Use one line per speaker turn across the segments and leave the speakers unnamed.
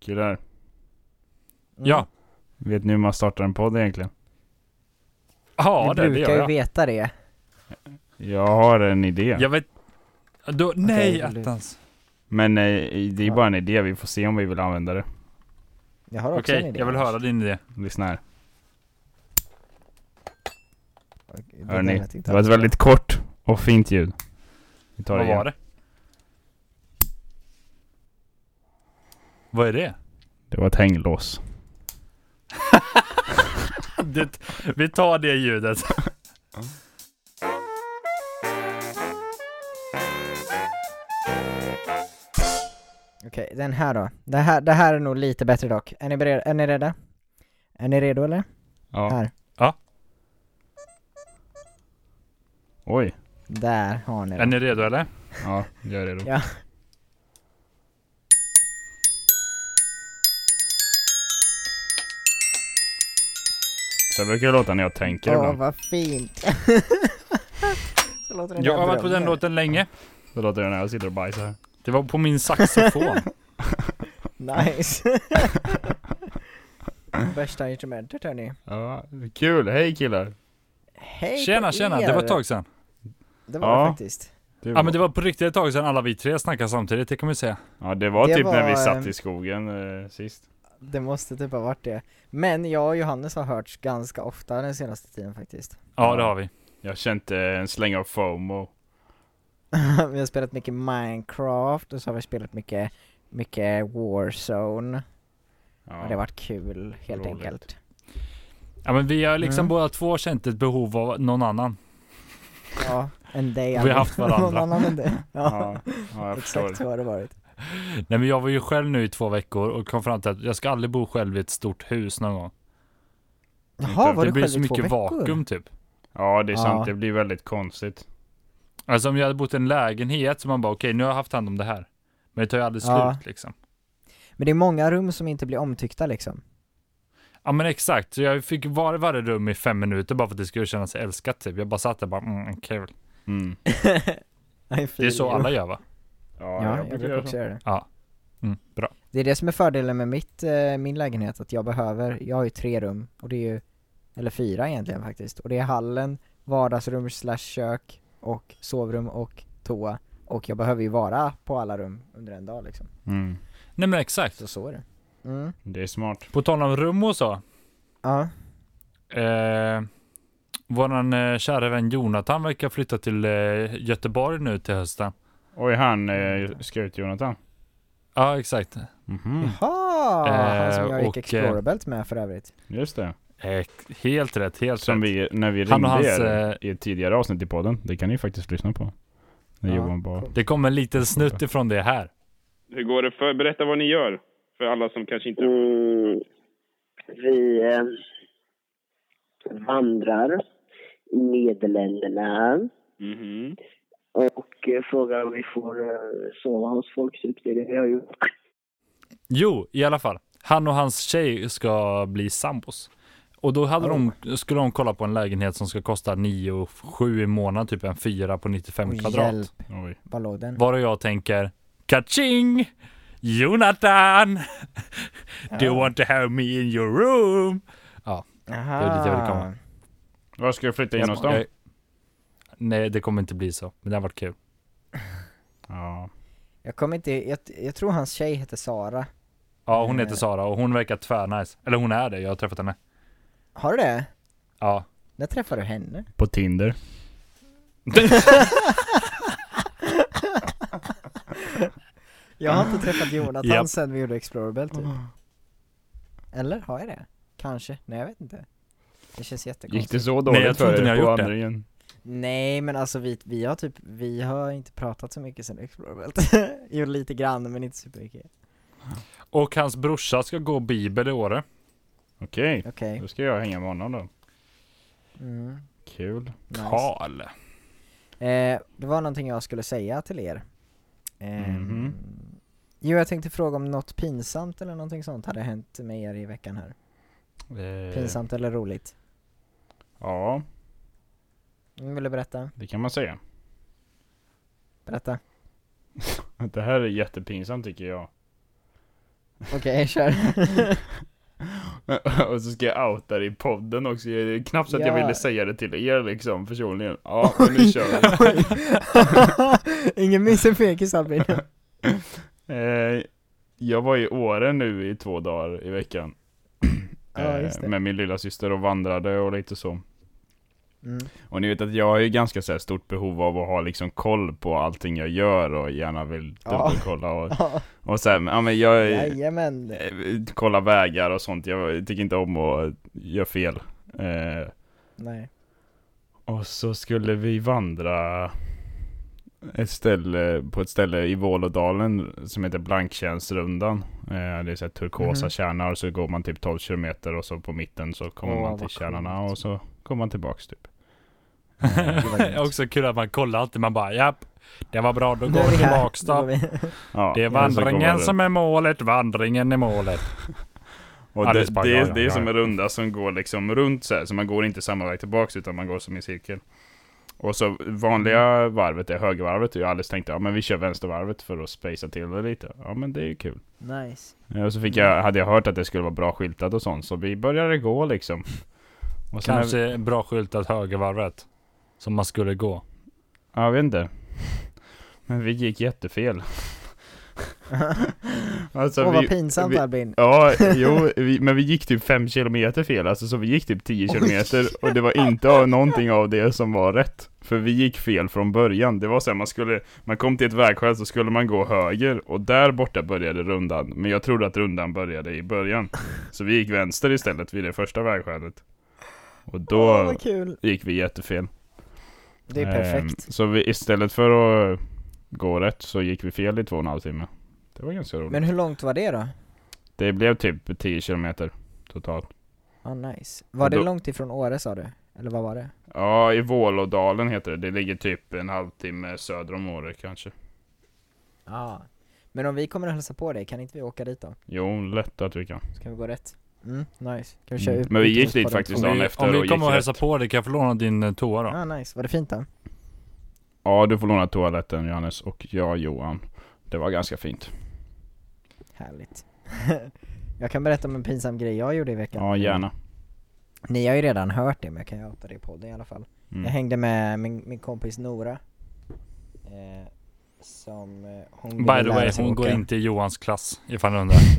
Killar,
Mm.
Ja.
vet ni hur man startar en podd egentligen?
Ja,
Ni
det, det
brukar
gör
ju
jag.
veta det.
Jag har en idé.
Jag vet... Då, nej,
Okej,
attans.
Men eh, det är bara en idé, vi får se om vi vill använda det.
Jag har också
Okej,
en idé.
jag vill höra din idé.
Lyssna här.
Okej, det
Hör ni?
lät inte
Det var ett
alls bra.
väldigt kort och fint ljud. Vi tar det
Vad
igen.
var det? Vad är det?
Det var ett hänglås.
det vi tar det ljudet.
Okej, den här då. Det här, det här är nog lite bättre dock. Är ni, bered, är ni rädda? Är ni redo eller?
Ja.
Här.
Oj.
Där har ni
Är
det.
ni redo eller?
Ja, jag är redo.
Ja.
Så här brukar det låta när jag tänker
Åh,
ibland.
vad fint! Så låter den
Jag
där
har varit på den
drömmen.
låten länge.
Så låter det när jag sitter och bajsar. här.
Det var på min saxofon.
Nice! Värsta instrumentet hörni.
Ja, kul. Hej killar.
Hej
tjena,
på
tjena.
er.
Det var ett tag sedan.
Det var
Ja.
det faktiskt.
Det
Ja, men det var på riktigt ett tag sedan alla vi tre snackade samtidigt, det kan man ju säga.
Ja, det var
Det
typ när
var,
vi satt
ehm,
i skogen eh, sist.
Det måste typ ha varit det. Men jag och Johannes har hörts ganska ofta den senaste tiden faktiskt.
Ja, det har vi.
Jag kände en släng av FOMO.
vi har spelat mycket Minecraft och så har vi spelat mycket, mycket Warzone.
Ja.
Och det har varit kul helt
Roligt.
enkelt.
Ja, men vi har liksom
Mm.
båda två känt ett behov av någon annan.
Ja, en day
Vi har haft
Någon
varandra.
annan än dig. Ja,
Ja, ja jag förstår.
exakt så har det varit.
Nej, men jag var ju själv nu i två veckor och kom fram till att jag ska aldrig bo själv i ett stort hus någon gång.
Jaha, var
det
du
blir
själv
så
i två
mycket
veckor?
vakuum typ.
Ja, det är sant.
Ja.
Det blir väldigt konstigt.
Alltså om jag hade bott i en lägenhet så man bara okej, nu har jag haft hand om det här. Men det tar ju aldrig
Ja.
slut liksom.
Men det är många rum som inte blir omtyckta liksom.
Ja men exakt, så jag fick vara i varje rum i fem minuter bara för att det skulle kännas älskat typ. Jag bara satt där bara, mm, kul.
Mm.
Det är så alla gör va?
Ja,
Ja, jag
brukar
brukar
göra
också
så.
göra det.
Mm, bra.
Det är det som är fördelen med mitt, eh, min lägenhet, att jag behöver, jag har ju tre rum och det är ju, eller fyra egentligen faktiskt, och det är hallen, vardagsrum slash kök och sovrum och toa. Och jag behöver ju vara på alla rum under en dag liksom.
Mm.
Nej men exakt.
Så så är det. Mm.
Det är smart.
På tal om rum och så.
Ja.
Eh, våran eh, kära vän Jonathan verkar flytta till eh, Göteborg nu till hösten.
Oj, han eh, scout Jonathan.
Ja exakt.
Mhm,
Jaha! Ah, han som jag
Eh,
gick
och, eh,
Explorerbelt med för övrigt.
Just det.
Eh, helt rätt, helt
Som
rätt.
vi, när vi
Han
ringde
och hans,
er
eh,
i ett tidigare avsnitt i podden. Det kan ni faktiskt lyssna på. När
Ja,
Johan bara...
Det kom en liten snutt ifrån det här.
Hur går det för... Berätta vad ni gör. För alla som kanske inte...
Mm, vi eh, vandrar i Nederländerna
Mhm.
och eh, frågar om vi får eh, sova hos folk. Typ. Det är det vi har gjort.
Jo, i alla fall. Han och hans tjej ska bli sambos. Och då hade de, skulle de kolla på en lägenhet som ska kosta 9 7 i månaden, typ en fyra på 95
Oj,
kvadrat.
Hjälp,
Oj.
vad låg den?
Var och jag tänker, kaching! Jonathan! Do you want to have me in your room?
Aha.
det är dit jag vill komma.
Var ska du flytta in
Jag-
någonstans?
jag- Nej, det kommer inte bli så. Men det har varit kul.
Ja.
Jag kommer inte, jag, jag tror hans tjej heter Sara.
Ja, hon
Eh.
heter Sara och hon verkar tvärnice. Eller hon är det, jag har träffat henne.
Har du det?
Ja.
När träffade du henne?
På Tinder.
Jag har inte träffat Jonathan
Japp.
sen vi gjorde Explorerbelt typ. Eller har jag det? Kanske? Nej jag vet inte. Det känns
Gick
jättekonstigt.
det så dåligt
Nej, jag tror
för
inte
er
ni
på
har gjort det.
vandringen?
Nej men alltså vi, vi har typ, vi har inte pratat så mycket sen Explorerbelt. jo lite grann men inte supermycket.
Och hans brorsa ska gå bibel i Åre.
Okej,
Okej.
då ska jag hänga med honom då.
Mm,
Kul.
nice.
Karl.
eh, det var någonting jag skulle säga till er. Ehm,
Mhm.
Jo jag tänkte fråga om något pinsamt eller någonting sånt hade hänt med er i veckan här.
Eh,
Pinsamt eller roligt?
Ja,
Mm, Vill du berätta?
det kan man säga.
Berätta.
Det här är jättepinsamt tycker jag.
Okej, kör.
och så ska jag outa det i podden också, det är knappt så att jag
Ja.
ville säga det till er liksom personligen. Ja, men nu kör vi.
Ingen minns en fegis Albin.
Eh, jag var i Åre nu i två dagar i veckan.
Ja, just det.
Eh, med min lilla syster och vandrade och lite så.
Mm.
Och ni vet att jag har ju ganska så här stort behov av att ha liksom koll på allting jag gör och gärna vill
Ja.
dubbelkolla och,
Ja,
och så här, ja men jag
Jajamän.
eh, kolla vägar och sånt. Jag tycker inte om att göra fel. Eh,
Nej.
och så skulle vi vandra ett ställe, på ett ställe i Vålådalen som heter Blanktjänstrundan. Eh, det är så här turkosa
Mhm.
kärnar så går man typ 12 kilometer och så på mitten så kommer
Åh,
man
vad
till kärnarna
coolt.
och så kommer man tillbaks typ.
Också kul att man kollar alltid, man bara japp, det var bra, då
Nu
går
är
vi
här.
tillbaks
Nu går
då.
vi.
Ja,
Det är
och så går man
vandringen
runt.
som är målet, vandringen är målet.
Och
Ja,
det,
det är bara,
det,
ja,
är-
ja,
det är
ja,
som
ja.
en runda som går liksom runt så här, så man går inte samma väg tillbaks utan man går som i cirkel. Och så vanliga
Mm.
varvet är högervarvet och jag alldeles tänkte ja men vi kör vänstervarvet för att spacea till det lite. Ja men det är ju kul.
Nice.
Eh, Och så fick
Mm.
jag, hade jag hört att det skulle vara bra skyltat och sånt så vi började gå liksom. Och sen
Kanske bra skyltat högervarvet. Som man skulle gå.
Ja, jag vet inte. Men vi gick jättefel. alltså,
Åh
vi-
vad pinsamt
vi-
Albin.
Ja, jo, vi, men vi gick typ 5 kilometer fel, alltså så vi gick typ 10
Oj.
kilometer och det var inte av någonting av det som var rätt. För vi gick fel från början, det var så här, man skulle, man kom till ett vägskäl så skulle man gå höger och där borta började rundan. Men jag trodde att rundan började i början. Så vi gick vänster istället vid det första vägskälet. Och
Åh,
då
vad kul.
gick vi jättefel.
Det är
Ehm,
perfekt.
så vi, istället för att gå rätt så gick vi fel i två och en halv timme. Det var ganska roligt.
Men hur långt var det då?
Det blev typ 10 kilometer totalt.
Ah, nice. Var det
Då-
långt ifrån Åre sa du? Eller vad var det?
Ja, i Vålådalen heter det. Det ligger typ en halvtimme söder om Åre kanske.
Ja. Men om vi kommer och hälsa på dig, kan inte vi åka dit då?
Jo, lätt att vi kan.
Så kan vi gå rätt. Mm, nice. Kan vi köra
Mm.
ut
Men vi gick
utomhus
dit
på den
faktiskt
Om
dagen
två-
vi,
efter
om
och
vi
gick
kommer och
rätt.
hälsar på dig, kan jag få låna din eh, toa då?
Ah nice, var det fint då?
Ja, du får låna toaletten Johannes och jag Johan. Det var ganska fint.
Härligt. jag kan berätta om en pinsam grej jag gjorde i veckan.
Ja, gärna.
Ni har ju redan hört det men jag kan ju outa det i podden i alla fall. Jag
Mm.
hängde med min, min kompis Nora. Eh, som eh, hon ville
By the
lära
way,
sig
hon går
åka.
inte i Johans klass. Ifall ni undrar.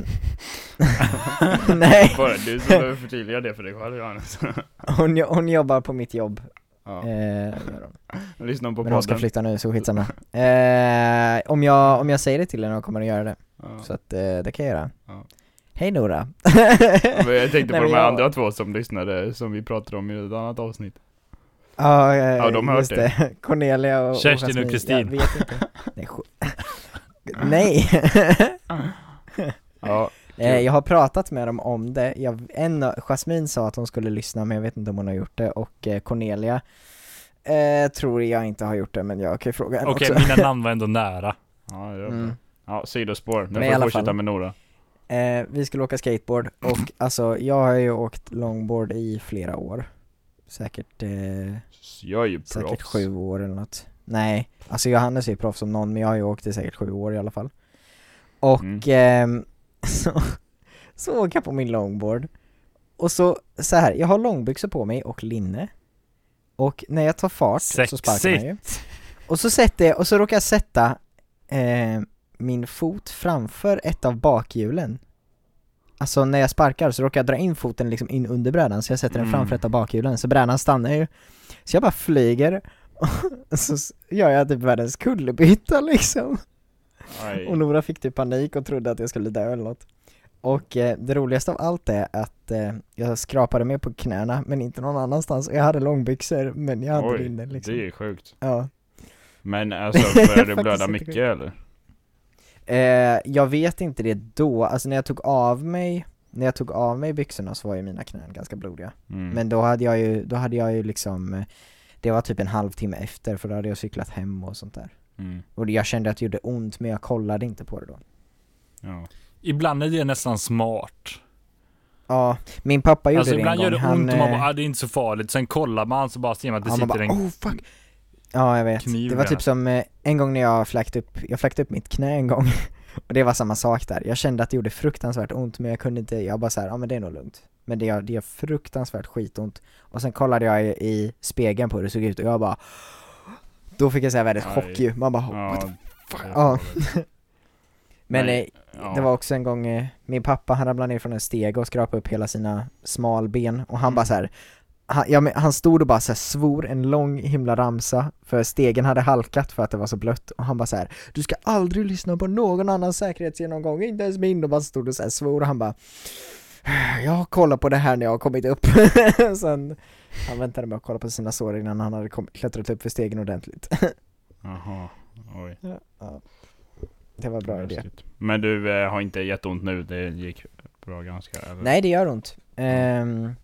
Nej, Eh,
Bara du som behöver förtydliga det för dig själv Johannes.
hon, jo- hon jobbar på mitt jobb. Eh,
ja.
gör hon.
Lyssna på
men hon ska
podden.
flytta nu så skitsamma. Eh, om, jag, om jag säger det till henne kommer hon göra det.
Ja.
Så att eh, det kan jag göra.
Ja.
Hej Nora.
Men jag tänkte
Nej,
på
men
de här
jag-
andra två som lyssnade, som vi pratade om i ett annat avsnitt.
Ja, eh,
Ja, de hör
just
det.
det. Cornelia och och
Kerstin
Jasmine.
och Kristin.
Jag vet inte. Nej. sj- Nej.
Ja,
Eh, jag har pratat med dem om det. Jag, en, av- Jasmine sa att hon skulle lyssna men jag vet inte om hon har gjort det och eh, Cornelia eh, tror jag inte har gjort det men jag kan ju fråga henne
Okej,
också.
mina namn var ändå nära.
ja, det var bra.
Mm.
ja sidospår. Nu
Men
får
i
jag
alla
fortsätta
fall.
med Nora.
Eh, vi skulle åka skateboard och alltså jag har ju åkt longboard i flera år. Säkert, eh,
Jag är ju
säkert
proffs.
sju år eller något. Nej, alltså Johannes är ju proffs som någon men jag har ju åkt i säkert sju år i alla fall. Och
Mm.
ehm, så, så åker jag på min longboard och så, så här, jag har långbyxor på mig och linne och när jag tar fart så sparkar man ju.
Sexigt!
Och så sätter jag, och så råkar jag sätta eh, min fot framför ett av bakhjulen. Alltså när jag sparkar så råkar jag dra in foten liksom in under brädan så jag sätter den
Mm.
framför ett av bakhjulen så brädan stannar ju. Så jag bara flyger och så s- gör jag typ världens kullerbytta liksom.
Aj.
Och Nora fick typ panik och trodde att jag skulle dö eller något. Och eh, det roligaste av allt är att eh, jag skrapade mig på knäna men inte någon annanstans. Jag hade långbyxor men jag hade
Oj,
linne liksom.
det är sjukt.
Ja.
Men alltså, började det
Faktiskt
blöda
inte
mycket
kul.
eller?
Eh, jag vet inte det då, alltså när jag tog av mig när jag tog av mig byxorna så var ju mina knän ganska blodiga.
Mm.
Men då hade jag ju, då hade jag ju liksom, eh, det var typ en halvtimme efter för då hade jag cyklat hem och sånt där.
Mm.
Och jag kände att det gjorde ont men jag kollade inte på det då.
Ja.
Ibland är det nästan smart.
Ja, min pappa gjorde
Alltså
det en gång.
ibland gör det
Han,
ont och man
eh,
bara, ah, det är inte så farligt. Sen kollar man så bara ser man att det
Ja, man
sitter
bara,
en...
oh, fuck. Ja jag vet,
kniv
det var
där.
typ som eh, en gång när jag fläkt upp, jag fläkt upp mitt knä en gång Och det var samma sak där. Jag kände att det gjorde fruktansvärt ont men jag kunde inte, jag bara såhär, ja men det är nog lugnt. Men det gör, det gör fruktansvärt skitont. Och sen kollade jag i, i spegeln på hur det såg ut och jag bara Då fick jag såhär världens
Aj.
chock ju. Man bara, Oh, what the
Ja,
fuck?
det är
Ja. Men
Nej.
eh,
ja.
det var också en gång, eh, min pappa han ramlade ner från en stege och skrapade upp hela sina smalben och han bara så här. Han, ja, men han stod och bara så här svor en lång himla ramsa för stegen hade halkat för att det var så blött och han bara så här. Du ska aldrig lyssna på någon annans säkerhetsgenomgång, inte ens min och bara stod och så här svor och han bara Jag kollar på det här när jag har kommit upp Sen han väntade med att kolla på sina sår innan han hade kom, klättrat upp för stegen ordentligt
Jaha, oj.
Det var en bra idé
läskigt. Men du eh, har inte jätteont nu? Det gick bra ganska? Eller?
Mm. Nej det gör ont. Ehm,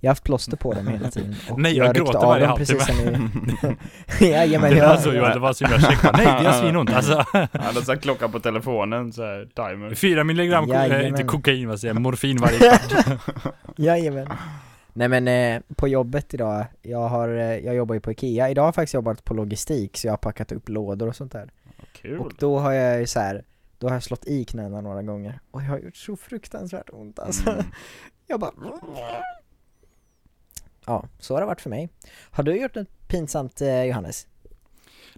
jag har haft plåster på dem hela tiden. och
Nej, jag
ryckte
gråter
av
varje
dem precis
halvtimme.
som ni- Jajamän,
Det
jag,
var så Johan, Alltså, det var så himla käckt. Nej, det gör svinont alltså.
Han hade satt klockan på telefonen så här, timer.
Fyra milligram ko- eh, inte
Jajamän.
kokain, vad säger jag, morfin varje kvart.
jajamän. Nej men eh, på jobbet idag, jag, har, eh, jag jobbar ju på IKEA, idag har jag faktiskt jobbat på logistik så jag har packat upp lådor och sånt där. Och
Kul.
då har jag ju så här, då har jag slått i knäna några gånger och jag har gjort så fruktansvärt ont alltså.
Mm.
Jag bara Ja, så har det varit för mig. Har du gjort något pinsamt eh, Johannes?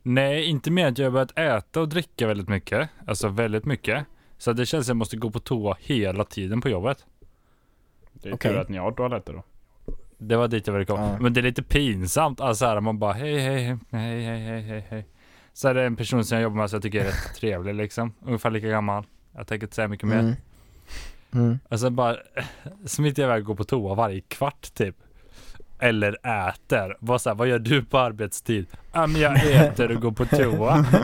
Nej, inte mer att jag har börjat äta och dricka väldigt mycket. Alltså väldigt mycket. Så att det känns som jag måste gå på toa hela tiden på jobbet.
Det är
Okej.
tur att ni har toaletter då.
Det var dit jag ville komma.
Ja.
Men det är lite pinsamt. Alltså här, man bara hej, hej, hej, hej, hej, hej, hej, hej. Så är det en person som jag jobbar med som jag tycker är rätt trevlig liksom. Ungefär lika gammal. Jag tänker inte säga mycket mer.
Mm. Mm.
Och sen bara smiter jag iväg och går på toa varje kvart typ. Eller äter. Bara så här, vad gör du på arbetstid? Ja men jag äter och går på toa.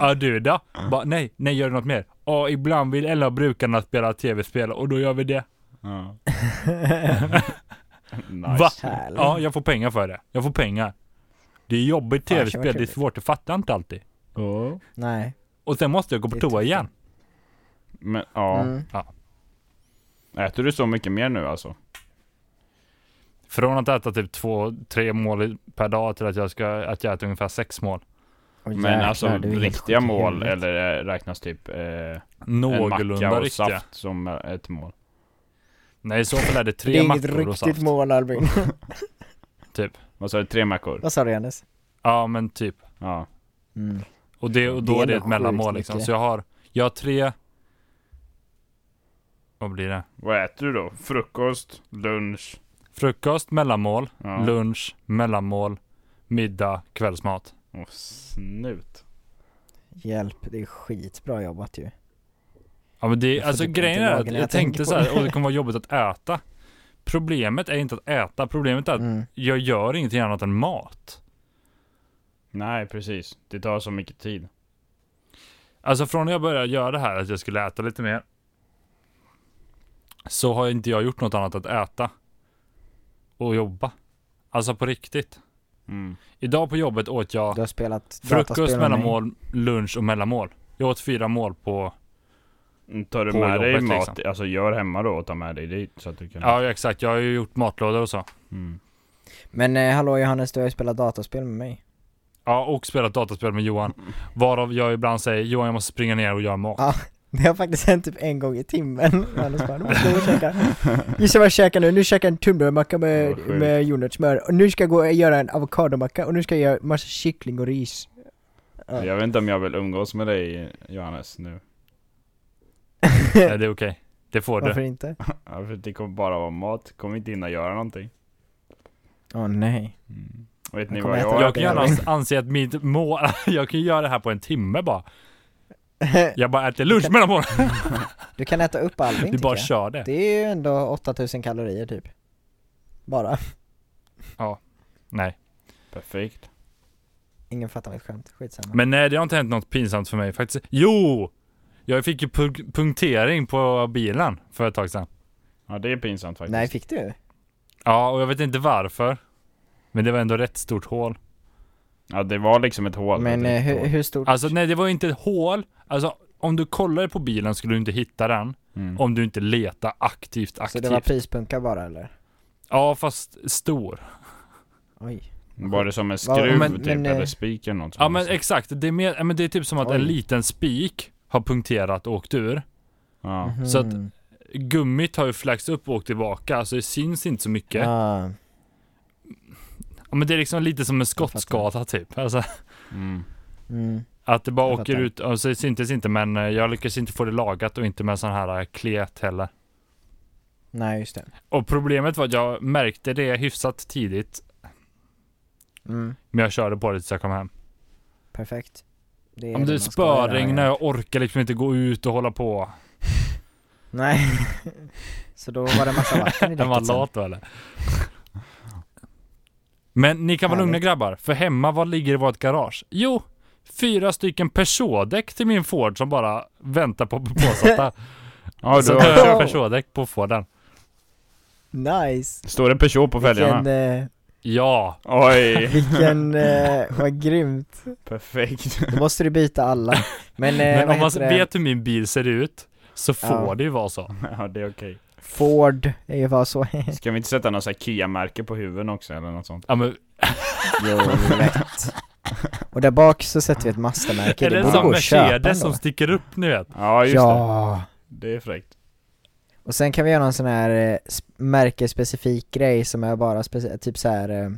Ja du då? Bara, nej, nej gör du något mer? Ja ibland vill en av brukarna spela tv-spel och då gör vi det.
Ja. nice.
Va?
Härligt.
Ja, jag får pengar för det. Jag får pengar. Det är jobbigt
Fan, vad
tv-spel, det är
trevligt.
svårt, att fatta inte alltid.
Ja.
Nej.
Och sen måste jag gå på
Det är
toa
tufft.
igen.
Men ja,
Mm.
äter du så mycket mer nu alltså?
Från att äta typ två, tre mål per dag till att jag, ska, att jag äter ungefär sex mål.
Åh,
Men
jäklar,
alltså
du är helt
riktiga
sjuk i
mål
huvudet.
eller eh, räknas typ eh, en macka
Någorlunda
och
riktiga.
saft som eh, ett mål?
Nej, i så fall är det
Det
tre
är inget
mackor och
riktigt
saft.
mål Albin.
Vad sa du? Tre mackor?
Vad sa du Mm. Johannes?
Ja, men typ.
Ja.
Och, det, och
Det
då
är
är det
nog
ett mellanmål
sjukt
liksom.
mycket.
Så jag har, jag har tre... Vad blir det?
Vad äter du då? Frukost, lunch?
Frukost, mellanmål,
Ja.
lunch, mellanmål, middag, kvällsmat.
Åh, snut.
Hjälp, det är skitbra jobbat ju.
Ja men det,
Jag får
alltså
typ ont i
grejen är
magen
att
när
jag
jag tänker
tänkte
på
så här,
det.
"Åh, det kommer vara jobbigt att äta. Problemet är inte att äta, problemet är att
Mm.
jag gör ingenting annat än mat.
Nej, precis. Det tar så mycket tid.
Alltså från när jag började göra det här, att jag skulle äta lite mer. Så har inte jag gjort något annat än att äta. Och jobba. Alltså på riktigt.
Mm.
Idag på jobbet åt jag
Du har spelat
frukost,
dataspel med mig.
mellanmål, lunch och mellanmål. Jag åt fyra mål på,
Mm, Tar du
På
med dig
jobbet,
mat?
liksom.
Alltså gör hemma då och ta med dig dit så att du kan...
ja exakt, jag har ju gjort matlådor och så.
Mm.
Men eh, hallå Johannes, du har ju spelat dataspel med mig.
Ja, och spelat dataspel med Johan. Varav jag ibland säger Johan jag måste springa ner och göra mat.
Ja. Det har faktiskt hänt typ en gång i timmen. Johannes bara, nu måste jag gå och käka. Gissa vad jag käkar nu? Nu käkar jag en tunnbrödsmacka
Vad
med,
sjukt.
med jordnötssmör. Och nu ska jag gå och göra en avokadomacka och nu ska jag göra massa kyckling och ris. Ja.
Jag vet inte om jag vill umgås med dig Johannes nu.
Nej, det är okej. Det får
Varför
du.
inte?
Ja, för det kommer bara vara mat. Kommer inte hinna göra någonting.
Åh nej.
Mm.
Och Vet ni
kommer
vad
äta
jag
Jag
äter?
kan gärna anse att mitt mål, jag kan ju göra det här på en timme bara. Jag bara äter lunch mellan målen.
Du kan äta upp Albin
Du
tycker
bara
jag.
kör det.
Det är ju ändå 8000 kalorier typ. Bara.
Nej.
Perfekt.
Ingen fattar mitt skämt, skitsamma.
Men nej, det har inte hänt något pinsamt för mig faktiskt. Jo! Jag fick ju punk- punktering på bilen för ett tag sedan.
Ja, det är pinsamt faktiskt.
Nej, fick du?
Ja, och jag vet inte varför. Men det var ändå rätt stort hål.
Ja, det var liksom ett hål. Ett
Men eh,
riktigt
hur,
hål.
hur stort?
Alltså nej, det var ju inte ett hål. Alltså om du kollar på bilen skulle du inte hitta den.
Mm.
Om du inte letar aktivt,
så
aktivt.
det var prispunka bara eller?
Ja, fast stor.
Oj.
Var det som en
Vad-
skruv
men-
typ,
men, eh,
eller spik eller något?
Ja
som-
men exakt, det är, mer, ja, men det är typ som att
Oj.
en liten spik har punkterat och åkt ur.
Ja.
Så
Mhm.
att- Gummit har ju flaxat upp och åkt tillbaka, så det syns inte så mycket. Ja.
Ah,
Men det är liksom lite som en skottskada typ. Alltså,
Mhm.
Mm.
mm.
att det bara
Jag
åker
fattar.
ut, och så det syntes inte men eh, jag lyckas inte få det lagat och inte med sån här eh, klet heller.
Nej, just det.
Och problemet var att jag märkte det hyfsat tidigt,
Mm.
men jag körde på det tills jag kom hem.
Perfekt. Det
Om det
man
är
ska göra,
spöregn när
ja.
jag orkar liksom inte gå ut och hålla på.
Nej. Så då var det en massa vatten i
Är man
däcket sen.
lat då eller? Men ni kan vara lugna
Härligt.
grabbar, för hemma vad ligger i vårt garage? Jo, fyra stycken Peugeot-däck till min Ford som bara väntar på att bli påsatta.
Ja,
Så
du
tar
har,
jag Peugeot-däck på Forden.
Nice!
står det Peugeot på
Vilken,
fälgarna?
eh,
Ja,
Oj,
vilken, eh, vad grymt.
perfekt.
Då måste du byta alla. Men, eh,
men
vad
om man
heter det?
vet hur min bil ser ut så får
Ja.
det ju vara så.
Ja, det är okej.
Ford är ju bara så.
Ska vi inte sätta någon sån här Kia-märke på huven också eller något sånt?
Ja, men,
jo, lätt. Och där bak så sätter vi ett Mazda-märke.
eller
Det
en
borde
sån
gå att köpa
Mercedes
ändå.
som sticker upp ni vet.
Ja, just det.
Ja!
Det är fräckt.
Och sen kan vi göra någon sån här eh, sp- märkesspecifik grej som är bara speci- typ så här. Eh,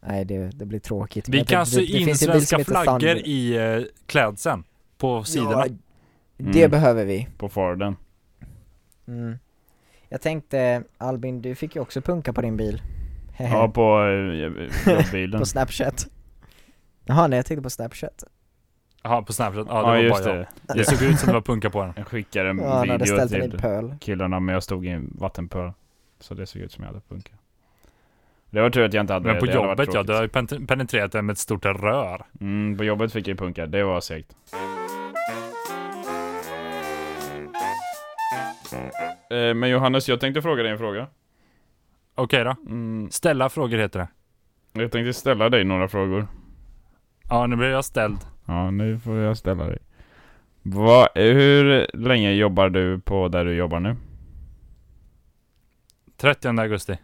nej det, det blir tråkigt. Men
Vi
jag tänkte
kan sy
typ- det
in
finns en bil som
svenska
heter
flaggor
Thunder.
i eh, klädseln på sidorna.
Ja, det
Mm.
behöver vi.
På Forden.
Mm. Jag tänkte Albin, du fick ju också punka på din bil.
Ja, på eh, jobbilen.
på Snapchat. Jaha, nej jag tänkte på Snapchat.
Jaha, på Snapchat. Ja, det
Ja,
var
just
bara jag.
det.
Det såg ut som det var punka på den.
Jag skickade en
Ja, han hade
video
ställt den i
till
en pöl.
killarna men jag stod i en vattenpöl. Så det såg ut som jag hade punka. Det var tur att jag inte hade
Men
det,
på
det hade varit
jobbet ja,
tråkigt.
du har ju pen- penetrerat den med ett stort rör.
Mm, på jobbet fick jag ju punka, det var segt. Eh, Men Johannes, jag tänkte fråga dig en fråga.
Okej då.
Mm,
Ställa frågor heter det.
jag tänkte ställa dig några frågor.
Ja, nu blev jag ställd.
Ja, nu får jag ställa dig. Va, hur länge jobbar du på där du jobbar nu?
30 augusti.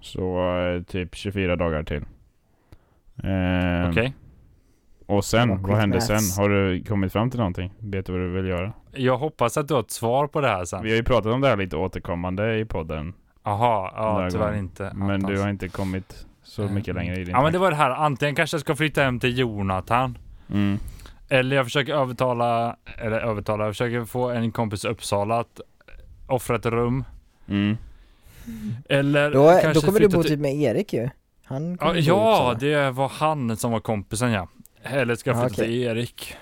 Så eh, typ 24 dagar till. Ehm,
Okej.
Och sen,
Det var
vad hände
quick maths.
sen? Har du kommit fram till någonting? Vet du vad du vill göra?
Jag hoppas att du har ett svar på det här sen.
Vi har ju pratat om det här lite återkommande i podden.
Jaha,
Den
ja
här
tyvärr
gången.
inte.
Men
Attans.
du har inte kommit så
Mm.
Eh,
mycket längre i din
Ja men det var det här, antingen kanske jag ska flytta hem till Jonathan.
Mm.
Eller jag försöker övertala, eller övertala, jag försöker få en kompis i Uppsala att offra ett rum.
Mm.
Eller
Då,
kanske
då kommer du
flytta
bo
till-
typ med Erik ju. Han kommer
Ja,
bo i
ja
Uppsala.
det var han som var kompisen ja. Eller ska jag
Ja,
flytta
okej.
till Erik?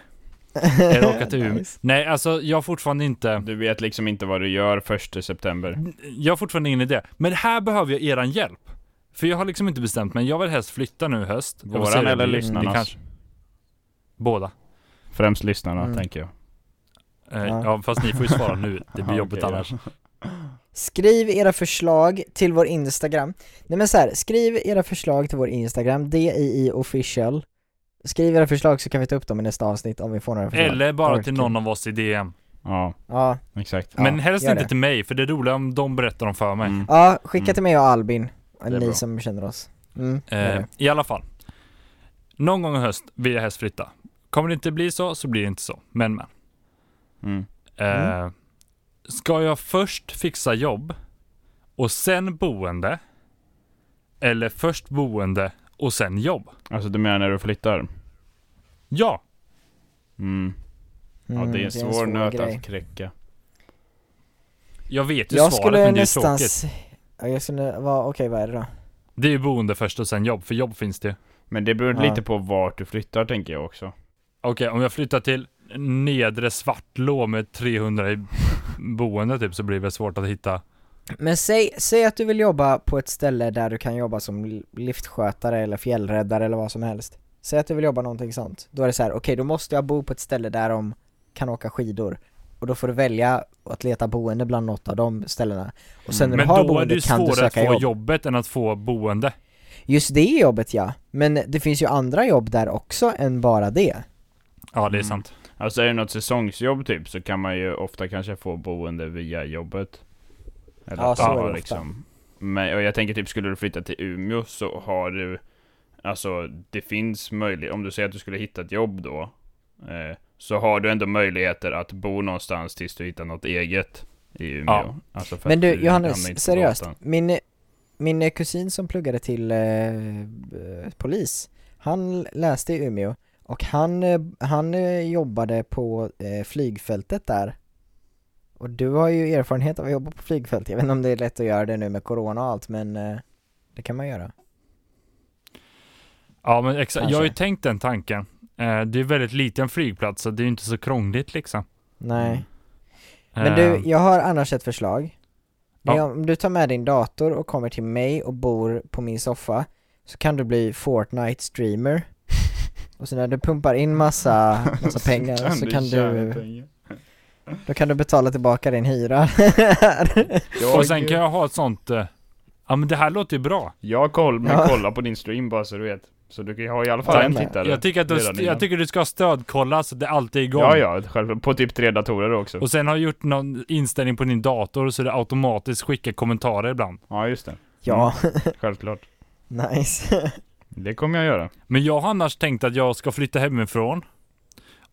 Eller åka till Umeå?
Nice.
Nej, alltså jag har fortfarande inte...
Du vet liksom inte vad du gör första september.
Jag har fortfarande ingen idé. Men här behöver jag eran hjälp. För jag har liksom inte bestämt mig. Jag vill helst flytta nu i höst. Jag får se hur
Våran
det
eller
blir.
lyssnarnas?
Det kanske- Båda.
Främst lyssnarna,
Mm.
tänker jag.
Eh,
Ja.
ja. fast ni får ju svara nu. Det blir
Ja,
jobbigt
okej.
annars.
Skriv era förslag till vår Instagram. Nej men så här, skriv era förslag till vår Instagram, DII official. Skriv era förslag så kan vi ta upp dem i nästa avsnitt om vi får några förslag.
Eller
Det
bara
var
till
kul.
någon av oss i DM.
Ja,
Ja,
exakt.
Ja,
Men helst
gör
inte
det.
till mig, för det är roligt om de berättar om för mig.
Mm.
ja skicka
Mm.
till mig och Albin,
är
ni
bra.
som känner oss. Mm, det är
Eh,
det.
I alla fall. Någon gång i höst vill jag helst flytta. Kommer det inte bli så, så blir det inte så. Men men.
Mm.
Eh, Ska jag först fixa jobb och sen boende? Eller först boende och sen jobb?
Alltså du menar när du flyttar?
Ja,
Mm. Ja,
Mm,
det är en svår nöt
grej.
att knäcka.
jag vet ju
Jag
svaret
skulle
men det är
nästan...
tråkigt.
s- Ja, jag skulle, va, okej vad är det då?
Det är ju boende först och sen jobb, för jobb finns det ju.
Men det beror
Ja.
lite på vart du flyttar, tänker jag också.
Okej, om jag flyttar till nedre Svartlå med 300 i boende typ så blir det väl svårt att hitta.
Men säg, säg att du vill jobba på ett ställe där du kan jobba som li- liftskötare eller fjällräddare eller vad som helst. Säg att du vill jobba någonting sånt. Då är det så här, okej då måste jag bo på ett ställe där de kan åka skidor. Och då får du välja att leta boende bland något av de ställena. Och sen när
Men
du har
då är det
boende
ju
kan du
svårare att
söka
få
jobb.
jobbet än att få boende.
Just det jobbet ja. Men det finns ju andra jobb där också än bara det.
Ja, det är
Mm.
sant.
Alltså är det något säsongsjobb typ så kan man ju ofta kanske få boende via jobbet. Eller
Ja,
att
så
man
är det
har
ofta.
Men och jag tänker typ skulle du flytta till Umeå så har du Alltså det finns möjlighet, om du säger att du skulle hitta ett jobb då eh, så har du ändå möjligheter att bo någonstans tills du hittar något eget i Umeå.
Ja.
Alltså för
Men
att
du
hamnar inte på
Johannes, seriöst.
gatan.
Min, min eh, kusin som pluggade till eh, eh, polis, han läste i Umeå och han, eh, han eh, jobbade på eh, flygfältet där. Och du har ju erfarenhet av att jobba på flygfält. Jag vet inte om det är lätt att göra det nu med corona och allt men eh, det kan man göra.
Ja, men exakt. Jag har ju
Kanske.
tänkt den tanken. Eh, Det är väldigt liten flygplats, så det är ju inte så krångligt liksom.
Nej.
Mm.
Men
Eh,
du, jag har annars ett förslag. Det är
Ja.
Om du tar med din dator och kommer till mig och bor på min soffa så kan du bli Fortnite-streamer. och så när du pumpar in massa, massa pengar så kan,
tjäna
du,
pengar.
då kan du betala tillbaka din hyra.
Jag,
Och sen kan jag ha ett sånt... eh, Ja, men det här låter ju bra.
jag koll, men
Ja.
kolla på din stream bara så du vet. Så du kan ju ha i alla fall
Tack.
en tittare.
Jag tycker, att du,
redan innan.
jag tycker du ska stödkolla så det alltid är igång.
Ja, ja, själv, på typ tre datorer också.
Och sen har du gjort någon inställning på din dator så det automatiskt skickar kommentarer ibland.
Ja, just det.
ja,
Självklart.
nice.
Det kommer jag göra.
Men jag har annars tänkt att jag ska flytta hemifrån.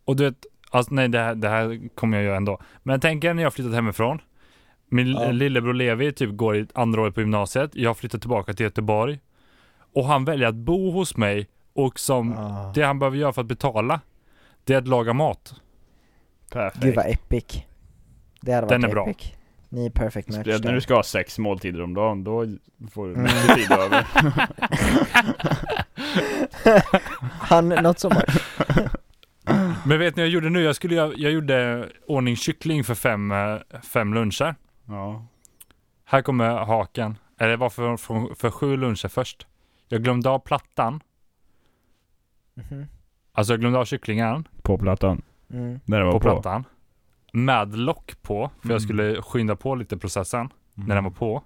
Och du vet, alltså nej det här, det här kommer jag göra ändå. Men jag tänker när jag har flyttat hemifrån. Min
Ja.
lillebror Levi typ går i andra året på gymnasiet. Jag flyttar tillbaka till Göteborg. Och han väljer att bo hos mig. Och som
Ah.
det han behöver göra för att betala. Det är att laga mat.
Perfekt.
Gud vad epic. Det hade varit
Den är bra.
epic. Ni är perfect match
Speciellt när du
där.
ska ha sex måltider om dagen, då får du
Mm.
mycket tid över.
Han, något som
Men vet ni vad jag gjorde nu? Jag, skulle, jag, jag gjorde ordning kyckling för fem, eh, fem luncher.
Ja.
Här kommer haken. Eller det var för, för, för sju luncher först. Jag glömde av plattan.
Mhm.
Alltså jag glömde av kycklingen
På plattan.
mm.
När den var
på
på.
plattan. Med lock på. För
Mm.
jag skulle skynda på lite processen. När den var på.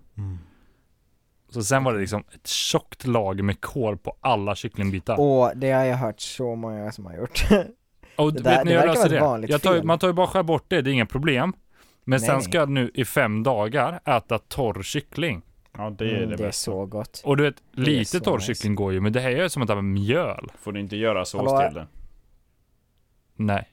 Så sen var det liksom ett tjockt lager med kol på alla kycklingbitar. Och,
Och det har jag hört så många som har gjort. det där-
vet
det
ni hur jag
verkar
löser
vara ett
det?
vanligt
Jag tar, ju-
fel.
man tar ju bara skär bort det, det är inga problem. Men
Nej,
sen
nej.
ska jag nu i fem dagar äta torr kyckling.
Ja, det är
Mm,
det
det är
bästa.
så gott.
Och du vet,
är
lite
så
torr
nice.
kyckling går ju, men det här är ju som att äta mjöl.
Får du inte göra sås
Hallå?
till det.
Nej.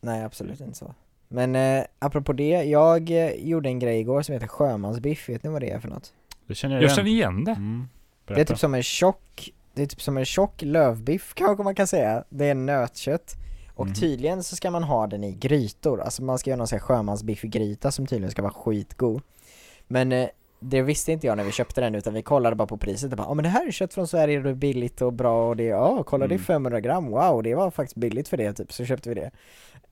Nej, absolut inte så. Men eh, apropå det, jag eh, gjorde en grej igår som heter sjömansbiff, vet ni vad det är för något?
Det känner
Jag känner igen det.
Mm.
Det är typ som en tjock, det är typ som en tjock lövbiff kanske man kan säga. Det är nötkött. Och
Mhm.
tydligen så ska man ha den i grytor, alltså man ska göra någon sån här sjömansbiffgryta som tydligen ska vara skitgod. Men eh, det visste inte jag när vi köpte den utan vi kollade bara på priset och bara ja men det här är kött från Sverige och det är billigt och bra och det, ja kolla det är
Mm.
500 gram, wow det var faktiskt billigt för det typ, så köpte vi det.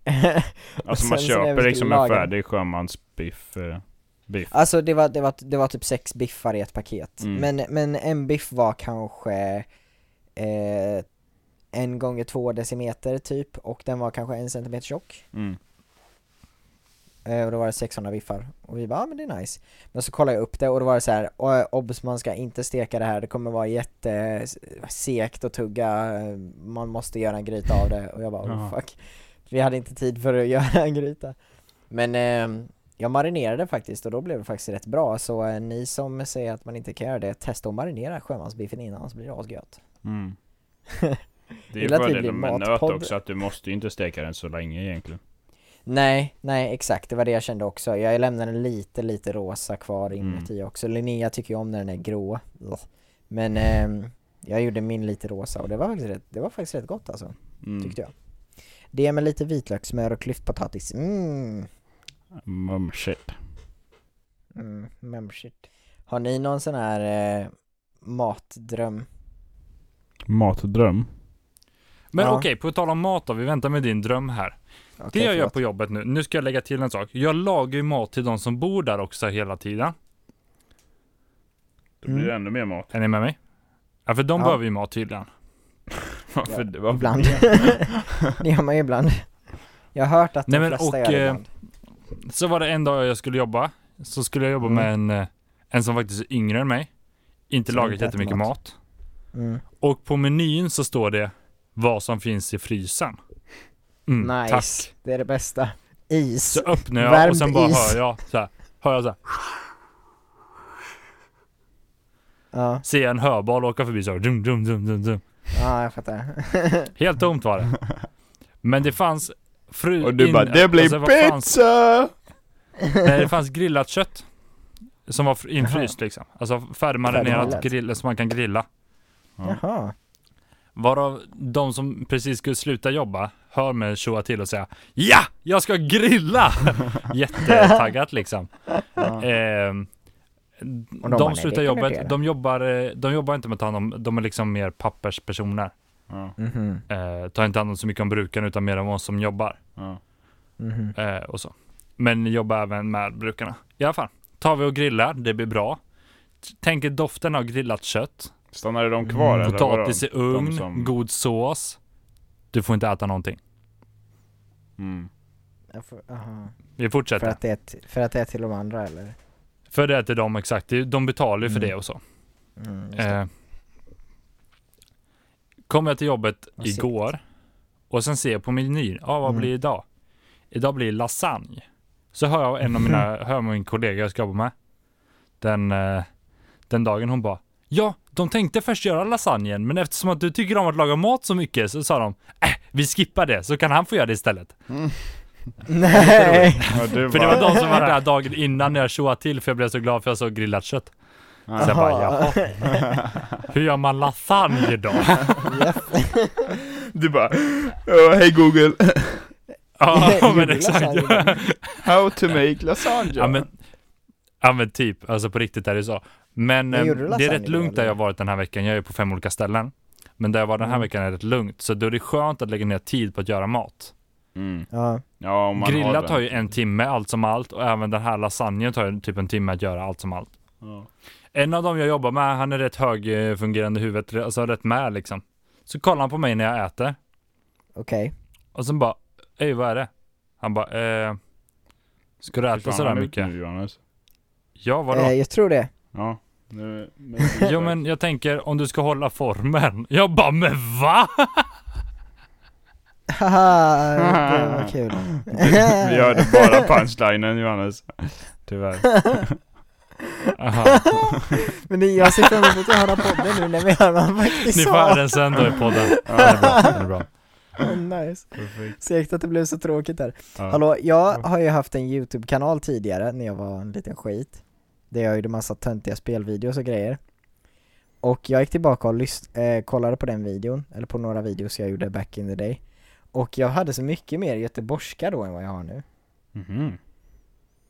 Alltså man
Sen så när vi
köper
skulle
liksom en
laga den.
färdig sjömansbiff. Eh, biff.
Alltså det var, det var, det var typ sex biffar i ett paket.
Mm.
Men, men en biff var kanske eh, en gånger två decimeter typ och den var kanske en centimeter tjock.
Mm.
Eh, och då var det 600 biffar. Och vi bara, ah, men det är nice. Men så kollade jag upp det och då var det så här, "Oj, obs man ska inte steka det här, det kommer vara jättesekt att tugga, eh, man måste göra en gryta av det. Och jag bara, oh,
Jaha.
fuck. Vi hade inte tid för att göra en gryta. Men eh, jag marinerade faktiskt och då blev det faktiskt rätt bra. Så eh, ni som säger att man inte kan göra det, testa att marinera sjömansbiffen innan så blir det asgött.
Mm. Det är ju
Gillar att vi blir
fördelen med nöt
matpodd.
också, att du måste ju inte steka den så länge egentligen.
Nej, nej exakt, det var det jag kände också. Jag lämnade lite, lite rosa kvar
Mm.
inuti också. Linnea tycker ju om när den är grå. Ugh. Men ehm, jag gjorde min lite rosa och det var faktiskt rätt, det var faktiskt rätt gott alltså,
Mm.
tyckte jag. Det med lite vitlök, smör och klyftpotatis. Mm.
Mm, shit.
Mm, mm, shit. Har ni någon sån här eh, matdröm?
Matdröm.
Men
Ja.
okej, på tal om mat då, vi väntar med din dröm här. Det
Okej,
jag gör
förlåt.
på jobbet nu, nu ska jag lägga till en sak. Jag lagar ju mat till de som bor där också hela tiden.
Då blir
Mm.
det ännu mer mat.
Är ni med mig? Ja, för de
Ja.
behöver ju mat tydligen.
Varför, ja,
Ibland. det gör man ju ibland. Jag har hört att
Nej,
de
men
flesta
och,
gör det
eh,
ibland.
Så var det en dag jag skulle jobba. Så skulle jag jobba
Mm.
med en, eh, en som faktiskt är yngre än mig. Inte
Som
lagat
inte äter
jättemycket
mat.
mat.
Mm.
Och på menyn så står det vad som finns i frysen. Mm,
nice,
Tack.
det är det bästa. Is.
Så öppnar jag
Värmd
och sen bara
is.
hör jag så här. Hör jag så här.
Ja,
Ser jag en hörboll åka förbi så här, dum, dum, dum, dum, dum.
ja jag fattar.
Helt tomt var det. Men det fanns fru
Och du bara
inne.
'Det blir
Och sen, Alltså, vad fan
pizza!'
Nej, det fanns grillat kött. Som var fr- infryst liksom. Alltså färdigmarinerat
Färdigmarinerat.
grill som man kan grilla.
Jaha.
Varav de som precis skulle sluta jobba hör mig tjoa till och säga Ja! Jag ska grilla! Jättetaggat liksom. Ehm,
Och de
de
bara, "Nej,
slutar
det kan du
jobbet,
inte göra."
de jobbar, eh, de jobbar inte med att ta hand om, de är liksom mer papperspersoner.
Mhm.
Eh, tar inte hand om så mycket om brukarna utan mer om oss som jobbar.
Mhm.
Eh, och så. Men jobbar även med brukarna. I alla fall, tar vi och grillar, det blir bra. T- Tänker doften av grillat kött,
Stannade de kvar eller? var
Mm, potatis i
de- de
ugn,
som-
god sås. Du får inte äta någonting.
Mm.
Jag får- aha.
Vi
För
fortsätter. För,
att det är t- för att det är till de andra eller?
det är till dem exakt, Det- de betalar ju för
Mm.
det och så.
Mm, just det.
Eh, kom jag till jobbet
Vad segt.
igår och sen ser jag på menyn, ja vad
Mm.
blir det idag? Idag blir det lasagne. Så hör jag en av mina,
Mm.
hör jag min kollega jag ska jobba med. Den, eh, den dagen hon bara, ja de tänkte först göra lasagnen men eftersom att du tycker om att laga mat så mycket så sa de, äh, vi skippar det så kan han få göra det istället.
Nej!
Ja, du
För Eh, det
bara,
var de som var där dagen innan när jag tjoade till för jag blev så glad för jag såg grillat kött. Så jag bara, jaha. Hur gör man lasagne då?
du bara "Åh, Hej Google,
Ja men
Jula
exakt.
lasagne.
how to make lasagne?
Ja men, ja men typ, alltså på riktigt är det så. Men
Men
eh,
gjorde du
det är
lasagne
rätt
då,
lugnt där
eller?
jag varit den här veckan, jag är ju på fem olika ställen. Men där jag var den här
Mm.
veckan är det rätt lugnt, så då är det skönt att lägga ner tid på att göra mat.
Mm.
ja.
Ja, om man har
Grilla
det.
tar ju en timme allt som allt och även den här lasagnen tar ju typ en timme att göra allt som allt.
Ja.
En av dem jag jobbar med, han är rätt högfungerande i huvudet, alltså rätt med liksom. Så kollar han på mig när jag äter
Okej.
och sen bara, ej vad är det? Han bara, eh, ska du
Hur
äta
fan
sådär
har du
mycket?
gjort Nu, Johannes?
Ja vadå?
Eh, jag tror det.
Ja. Nu, men,
Jo men jag tänker om du ska hålla formen. Jag bara men va?
Haha, det var kul.
Vi hörde bara punchlinen Johannes. Tyvärr.
Aha.
Men det, jag ser fram emot att höra podden nu när vi hör vad han
Ni
faktiskt
får höra
sa.
den sen då i podden. Ja, det är bra, det är bra.
Oh, nice.
Perfekt.
Segt att det blev så tråkigt där.
Ja.
Hallå, jag har ju haft en YouTube-kanal tidigare när jag var en liten skit. Där jag gjorde massa töntiga spelvideos och grejer. Och jag gick tillbaka och lys- eh, kollade på den videon, eller på några videos jag gjorde back in the day. Och jag hade så mycket mer göteborgska då än vad jag har nu.
Mhm.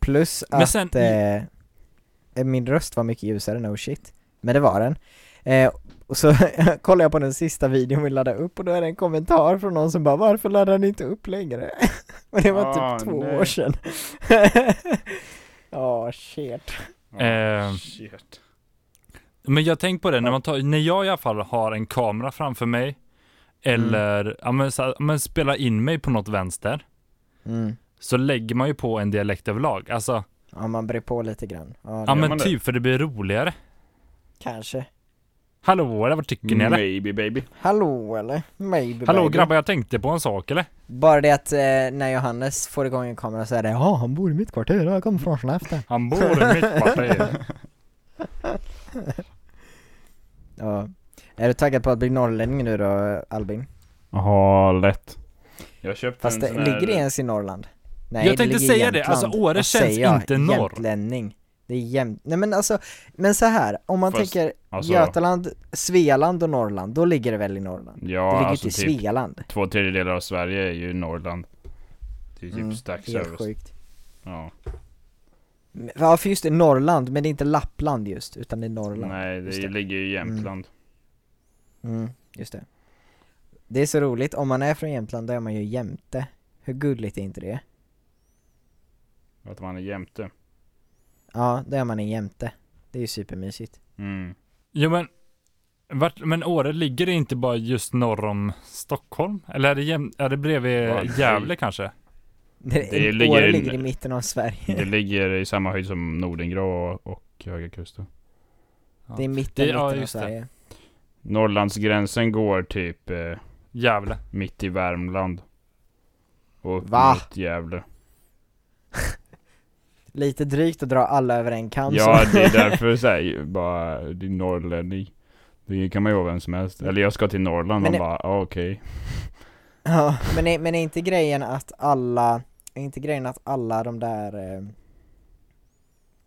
Plus
Men
att
sen-
eh, eh, min röst var mycket ljusare, no shit. Men det var den. Eh, och så kollade jag på den sista videon vi laddade upp och då är det en kommentar från någon som bara 'Varför laddar ni inte upp längre?' och det var
Ah,
typ två
nej.
år sedan. Ja, shit.
Eh,
Shit.
Men jag tänkt på det, när, man tar, när jag i alla fall har en kamera framför mig. Eller ja, men, så, här, men spela in mig på något vänster.
Mm.
Så lägger man ju på en dialekt överlag. Alltså,
Ja, man brer på lite grann. Ja,
ja
det-
men
man det?
typ för det blir roligare.
kanske.
Hallå eller vad tycker ni eller?
Maybe baby.
Hallå eller? Maybe
Hallå
baby.
grabbar jag tänkte på en sak eller?
Bara det att eh, när Johannes får igång en kamera så är det 'Ja, han bor i mitt kvarter, han kommer från Skellefteå'
Han bor i mitt parti.
Ja. Är du taggad på att bli norrlänning nu då Albin?
Jaha, lätt. Jag köpte
Fast
en
det,
sån här...
ligger det ens i Norrland? Nej,
Jag tänkte
ligger i
säga det,
Jämtland.
alltså, Åre
Vad
känns
säger jag?
inte norr.
Jämtlänning. Det är jämt... Nej men alltså, men så här, om man
Fast,
tänker
alltså-
Götaland, Svealand och Norrland, då ligger det väl i
Ja,
Norrland? det ligger
alltså
inte i
typ
Svealand.
två tredjedelar av Sverige är ju Norrland. Det är typ
Mm,
strax
Helt
över.
sjukt.
Ja.
Men- Ja för just det, Norrland, men det är inte Lappland just, utan det är Norrland.
Nej, det,
Just det.
ligger ju i Jämtland.
Mm, just det. Det är så roligt, om man är från Jämtland då är man ju jämte. Hur gulligt är inte det?
Att man är jämte.
Ja, då är man en jämte. Det är ju supermysigt.
Mm.
Jo men, vart, men Åre ligger det inte bara just norr om Stockholm? Eller är det, jäm, är det bredvid
Ja, nej.
Gävle kanske?
Det,
Det
Åre
ligger-
ligger, i mitten av Sverige.
Det ligger i samma höjd som Nordingrå och, och Höga Kusten.
Det är mitten,
Det- ja,
mitten av
just det.
Sverige.
Norrlandsgränsen går typ eh,
Gävle.
mitt i Värmland. Och upp
Va?
mot Gävle.
Lite drygt att dra alla över en kam
Ja,
så.
det är därför säger bara, det är norrlänning. Det kan man ju vara vem som helst. Eller jag ska till Norrland,
Men
man
det-
bara, ah, okej.
Ja, men är, men är inte grejen att alla, är inte grejen att alla de där eh,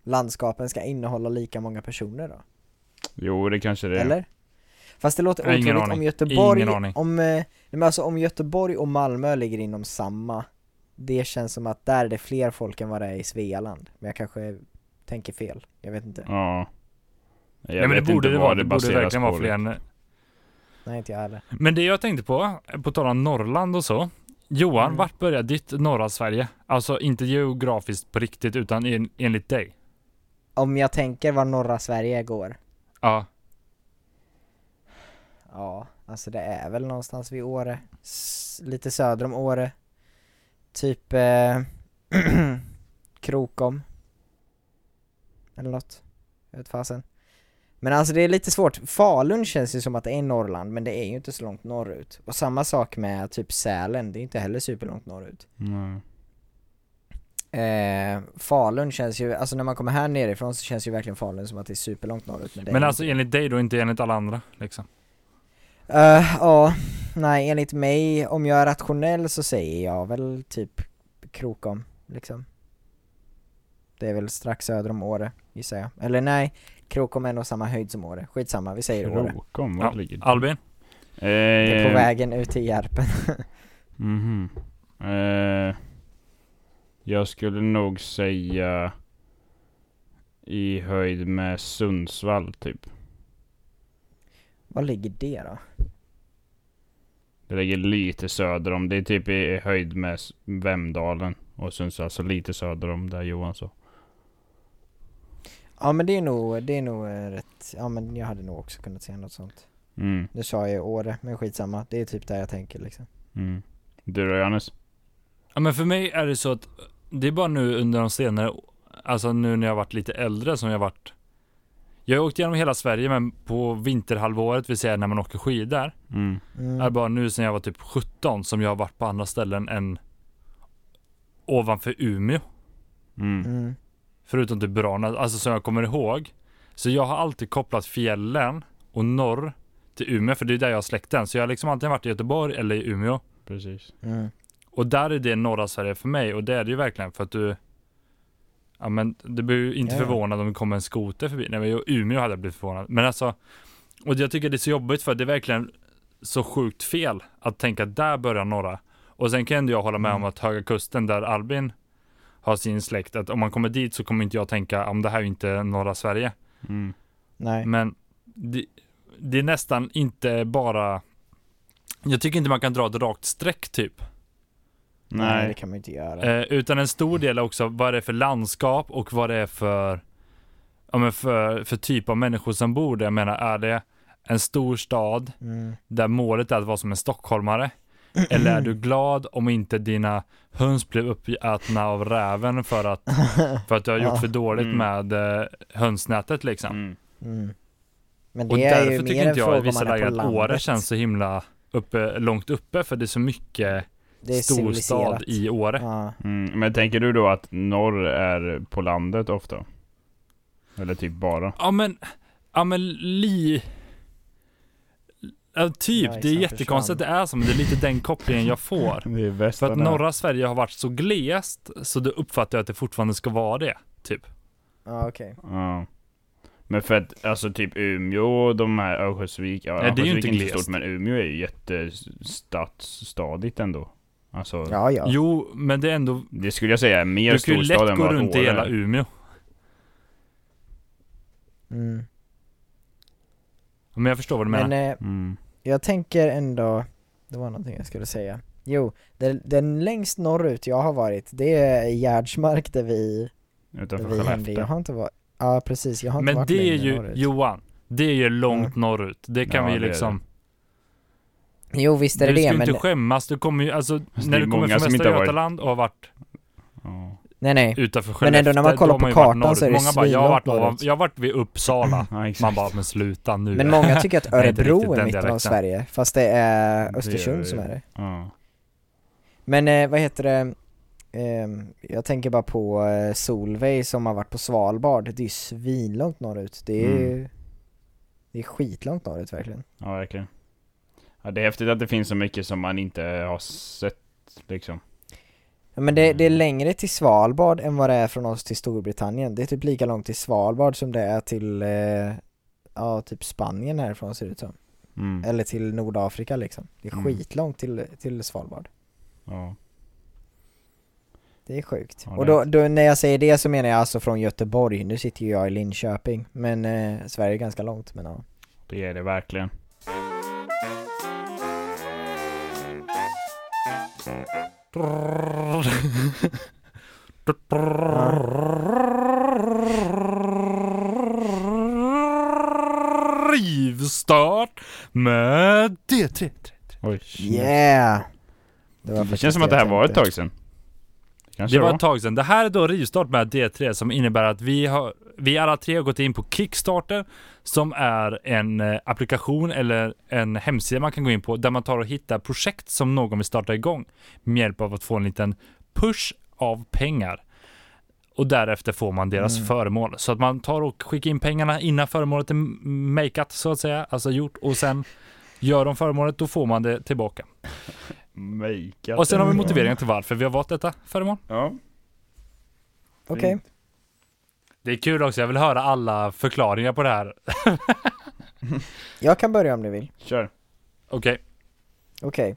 landskapen ska innehålla lika många personer då?
Jo, det kanske det är.
Eller? Fast det låter
Jag har ingen
otroligt om
aning.
Göteborg,
Ingen aning.
om, eh, nej, men alltså om Göteborg och Malmö ligger inom samma, det känns som att där är det fler folk än vad det är i Svealand. Men jag kanske tänker fel, jag vet inte.
Ja. Jag
Nej, men
vet
det borde
inte
det
vad
vara. Det borde
baseras
verkligen
på. liksom.
vara fler än
Nej inte jag heller.
Men det jag tänkte på, på tal om Norrland och så. Johan,
Mm.
vart börjar ditt norra Sverige? Alltså inte geografiskt på riktigt, utan en, enligt dig.
Om jag tänker var norra Sverige går,
Ja,
ja, alltså det är väl någonstans vid Åre, S- lite söder om Åre. Typ eh, Krokom. Eller något. Jag vet fasen. Men alltså det är lite svårt. Falun känns ju som att det är Norrland, men det är ju inte så långt norrut. Och samma sak med typ Sälen, det är inte heller superlångt norrut.
liksom. Nej.
Eh, Falun känns ju, alltså när man kommer här nerifrån så känns ju verkligen Falun som att det är superlångt norrut det är
men
ju
alltså enligt dig då, inte enligt alla andra liksom.
Eh, ja, nej enligt mig, om jag är rationell så säger jag väl typ Krokom, liksom. Det är väl strax söder om Åre, gissar jag. Eller nej, Krokom är nog samma höjd som Åre. Skitsamma, vi säger Åre.
Krokom, var
Ja.
ligger det?
Albin?
Det är på
Eh,
vägen ut till Järpen.
mhm. eh, jag skulle nog säga i höjd med Sundsvall typ.
Var ligger det då?
Det ligger lite söder om. Det är typ i höjd med S- Vemdalen och Sundsvall. Så alltså lite söder om där Johan sa.
Ja men det är nog, det är nog eh, rätt, ja men jag hade nog också kunnat säga något sånt.
Mm,
Nu sa jag ju Åre, men skitsamma. Det är typ där jag tänker liksom.
mm. Du då Johannes?
Ja, men för mig är det så att det är bara nu under de senare, alltså nu när jag varit lite äldre som jag varit. Jag har åkt genom hela Sverige, men på vinterhalvåret, vill säga när man åker skidor,
Mm.
Mm.
är bara nu sen jag var typ 17 som jag har varit på andra ställen än ovanför Umeå.
Mm.
Mm.
Förutom typ Branäs, alltså som jag kommer ihåg. Så jag har alltid kopplat fjällen och norr till Umeå, för det är där jag har släkten. Så jag har liksom antingen varit i Göteborg eller i Umeå.
Precis.
Mm.
Och där är det norra Sverige för mig och det är det ju verkligen för att du Ja men du blir ju inte
Ja, ja.
förvånad om det kommer en skoter förbi. Nej men i Umeå hade jag blivit förvånad. Men alltså Och jag tycker det är så jobbigt för det är verkligen så sjukt fel att tänka att där börjar norra. Och sen kan ändå jag hålla med
Mm.
om att Höga Kusten där Albin har sin släkt, att om man kommer dit så kommer inte jag tänka om det här är ju inte norra Sverige.
Mm.
Nej.
Men det, det är nästan inte bara Jag tycker inte man kan dra ett rakt streck typ.
Nej, det
Nej.
kan man ju inte göra.
Eh, utan en stor del är också vad det är för landskap och vad det är för, ja, men för, för typ av människor som bor där. Jag menar, är det en stor stad
Mm.
där målet är att vara som en stockholmare? Eller är du glad om inte dina höns blev uppätna av räven för att, för att du har gjort
Ja.
för dåligt
Mm.
med eh, hönsnätet liksom?
Mm.
Mm. Men det
Och
är ju
därför
mer
tycker
en
inte jag i
fråga
vissa
om man är
lägen
på
att Åre
landet.
känns så himla uppe, långt uppe för det är så mycket
det är
storstad
civiliserat.
i Åre.
Ja.
Mm. Men tänker du då att norr är på landet ofta? Eller typ bara?
Ja men, ja men li... Ja, typ,
Ja,
det är
exakt,
jättekonstigt att det är så, men det är lite den kopplingen jag får.
Det är
För att
västarna.
norra Sverige har varit så glest, så då uppfattar jag att det fortfarande ska vara det. Typ.
Ja okej.
Ja. Men för att alltså typ Umeå och de här Örnsköldsvik, ja,
Nej, det är ju
Örnsköldsvik
inte
är inte
glest.
stort men Umeå är ju jättestadsstadigt ändå. Alltså
Ja ja.
Jo, men det är ändå...
det skulle jag säga är mer
Du kan ju
storstad
lätt
än
gå
vad
runt i
Åre
hela
är.
Umeå.
Mm.
Men jag förstår vad du menar.
Men eh,
Mm.
jag tänker ändå, det var någonting jag skulle säga. Jo, den, den längst norrut jag har varit, det är Gärdsmark där vi, där
Utanför
vi hängde. Jag
Skellefteå.
har inte varit, ja precis, jag har inte
Men,
varit
det är
längre
ju,
norrut. Mm.
Johan, det är ju långt
Ja.
norrut. Det kan
Ja,
vi ju
det är
liksom...
Jo visst är det
du ska
det,
ju
men
inte skämmas. Du kommer ju, alltså,
det
när
är
du kommer
många
från
som
Västra
inte har varit-
Götaland och har varit
Ja.
nej nej.
utanför Skellefteå.
Men ändå när man
då
kollar
har
på
ju varit
kartan
norrut.
så är det
Många bara, jag har, varit,
svinlångt norrut.
jag har varit vid Uppsala.
ja exakt.
Man bara, men sluta nu.
Men många tycker att
Nej, inte riktigt
Örebro är
den
mitten av
dialekten.
Sverige, fast det är
Det
Östersund
är-
som är det.
Ja.
Men eh, vad heter det, Ehm, jag tänker bara på eh, Solveig som har varit på Svalbard, det är ju
Mm.
svinlångt norrut. Det är ju, det är skitlångt norrut verkligen.
Ja verkligen. Ja, det är häftigt att det finns så mycket som man inte har sett liksom.
Ja, Men det, det
Mm.
är längre till Svalbard än vad det är från oss till Storbritannien. Det är typ lika långt till Svalbard som det är till, eh, ja typ Spanien härifrån ser det ut som.
Mm.
Eller till Nordafrika liksom. Det är
Mm.
skitlångt till, till Svalbard.
Ja.
Det är sjukt.
Ja,
och
det är
då, då, när jag säger det så menar jag alltså från Göteborg. Nu sitter ju jag i Linköping, men eh, Sverige är ganska långt. Men ja.
Det är det verkligen.
Rivstart med D3.
Oj. Mm.
Yeah! Det, var
Det
precis
känns som att det här
jag
var ett
tänkte.
tag sedan. Kanske
Det var ett tag sedan. Det här är då rivstart med D3 som innebär att vi, har, vi alla tre har gått in på Kickstarter som är en eh, applikation eller en hemsida man kan gå in på där man tar och hittar projekt som någon vill starta igång med hjälp av att få en liten push av pengar. Och därefter får man deras föremål. Så att man tar och skickar in pengarna innan föremålet är m- makeat så att säga, alltså gjort och sen gör de föremålet, då får man det tillbaka.
Makeat.
Och sen har vi motiveringen till varför vi har valt detta föremål.
Ja.
Okej.
Mm.
Det är kul också, jag vill höra alla förklaringar på det här.
Jag kan börja om ni vill.
Kör.
Okej,
Okej.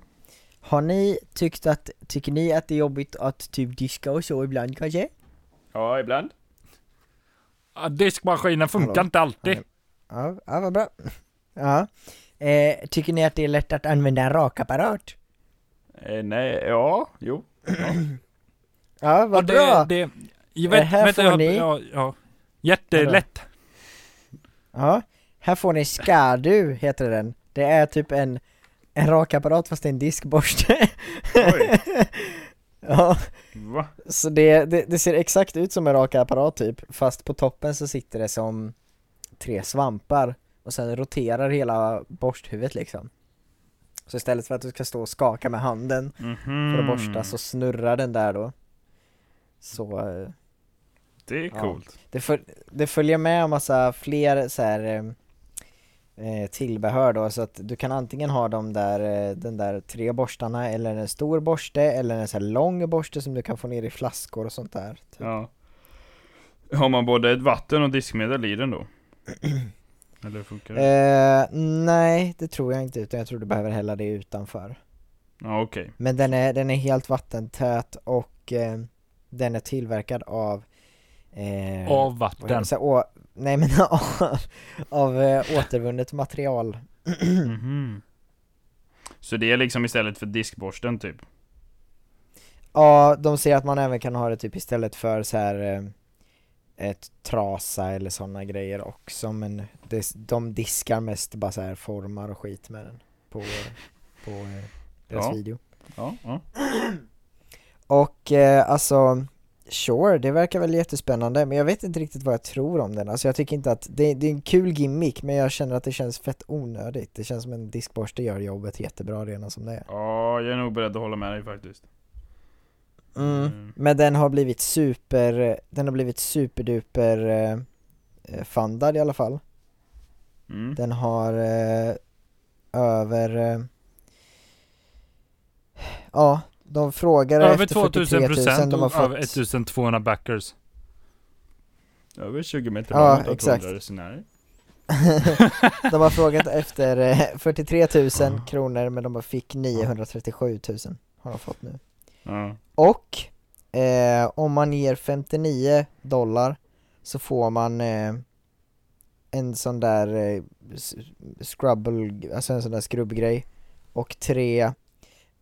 Har ni tyckt att, tycker ni att det är jobbigt att typ diska och så ibland kanske?
Ja, ibland.
Ah, diskmaskinen funkar
Hallå.
inte alltid.
Ja, ja vad bra. Ja. Eh, tycker ni att det är lätt att använda en rakapparat?
Eh, nej, ja, jo.
Ja, vad
Och det,
bra!
Det, jag
Det
vet,
här
vänta,
får
jag,
ni.
Ja, ja. Jättelätt.
Ja. Här får ni Skadu, heter den. Det är typ en, en rakapparat fast det är en diskborste.
Oj.
ja,
Va?
så det, det, det ser exakt ut som en rakapparat typ, fast på toppen så sitter det som tre svampar och sen roterar hela borsthuvudet liksom. Så istället för att du ska stå och skaka med handen
Mhm.
för att borsta så snurrar den där då Så eh,
Det är
Ja.
coolt.
det, föl- det följer med en massa fler så här eh, eh, tillbehör då så att du kan antingen ha de där, eh, den där tre borstarna eller en stor borste eller en så här lång borste som du kan få ner i flaskor och sånt där typ.
Ja. Har man både ett vatten och diskmedel i den då? Eller funkar det?
eh, Nej det tror jag inte utan jag tror du behöver hälla det utanför
Ja, okej.
Men den är, den är helt vattentät och eh, den är tillverkad av eh,
Av
vad jag
vatten.
vill säga, å, nej men av, av eh, återvunnet material.
Mhm. Så det är liksom istället för diskborsten typ?
Ja, de säger att man även kan ha det typ istället för så här eh, ett trasa eller sådana grejer också men det, de diskar mest bara så här formar och skit med den på, på eh, deras
Ja.
video.
Ja, ja.
Och eh, alltså, sure, det verkar väl jättespännande men jag vet inte riktigt vad jag tror om den. Alltså jag tycker inte att, det, det är en kul gimmick men jag känner att det känns fett onödigt. Det känns som en diskborste gör jobbet jättebra redan som det är.
Ja, jag är nog beredd att hålla med dig faktiskt.
Mm.
Mm.
Men den har blivit super, den har blivit superduper eh, eh, fundad i alla fall.
Mm.
Den har eh, över, eh, ja, de frågar
Över
efter 43
2000
000,
procent
de har
och
fått,
över 1200 backers.
Över 20 meter
Ja,
långt och
exakt.
200 resenärer.
de har frågat efter eh, 43 000 kronor men de bara fick 937 000 har de fått nu.
Ja.
Och eh, om man ger 59 dollar så får man eh, en sån där eh, s- scrubble, alltså en sån där skrubbgrej och tre,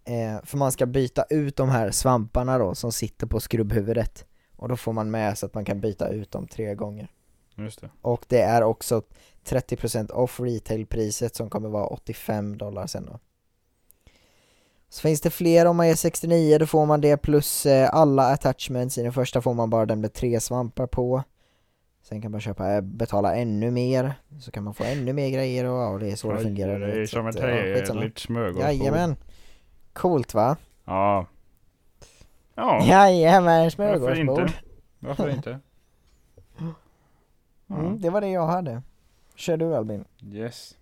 eh, för man ska byta ut de här svamparna då som sitter på skrubbhuvudet och då får man med så att man kan byta ut dem tre gånger.
Just det.
Och det är också 30% off retailpriset som kommer vara 85 dollar sen då. Så finns det fler om man ger 69 då får man det plus eh, alla attachments. I den första får man bara den med tre svampar på. Sen kan man köpa, eh, betala ännu mer. Så kan man få ännu mer grejer och ja, det är så det fungerar.
Det är
Så
som
att,
ett eh,
ja, skitsamma.
trevligt smörgåsbord.
Jajamän. Coolt va?
Ja. Ja,
Jajamän,
varför
smörgåsbord.
inte? Varför inte? Ja.
Mm, det var det jag hade. Kör du Albin.
Yes.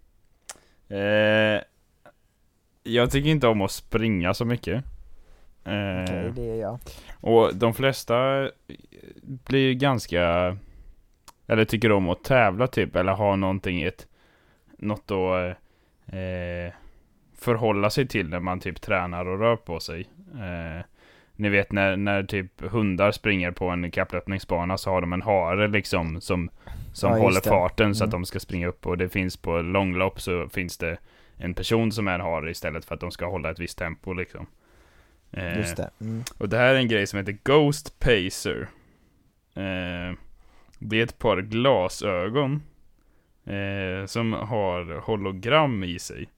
Eh, jag tycker inte om att springa så mycket. Eh,
Okej, det är jag.
Och de flesta blir ganska, eller tycker om att tävla typ, eller ha någonting i ett, något att eh, förhålla sig till när man typ tränar och rör på sig. Eh, ni vet när, när typ hundar springer på en kapplöpningsbana så har de en hare liksom som, som
Ja, just
håller
det.
farten så att
Mm.
de ska springa upp och det finns på långlopp så finns det en person som är en hare istället för att de ska hålla ett visst tempo liksom. Eh,
Just det. Mm.
och det här är en grej som heter Ghost Pacer. Eh, det är ett par glasögon eh, som har hologram i sig.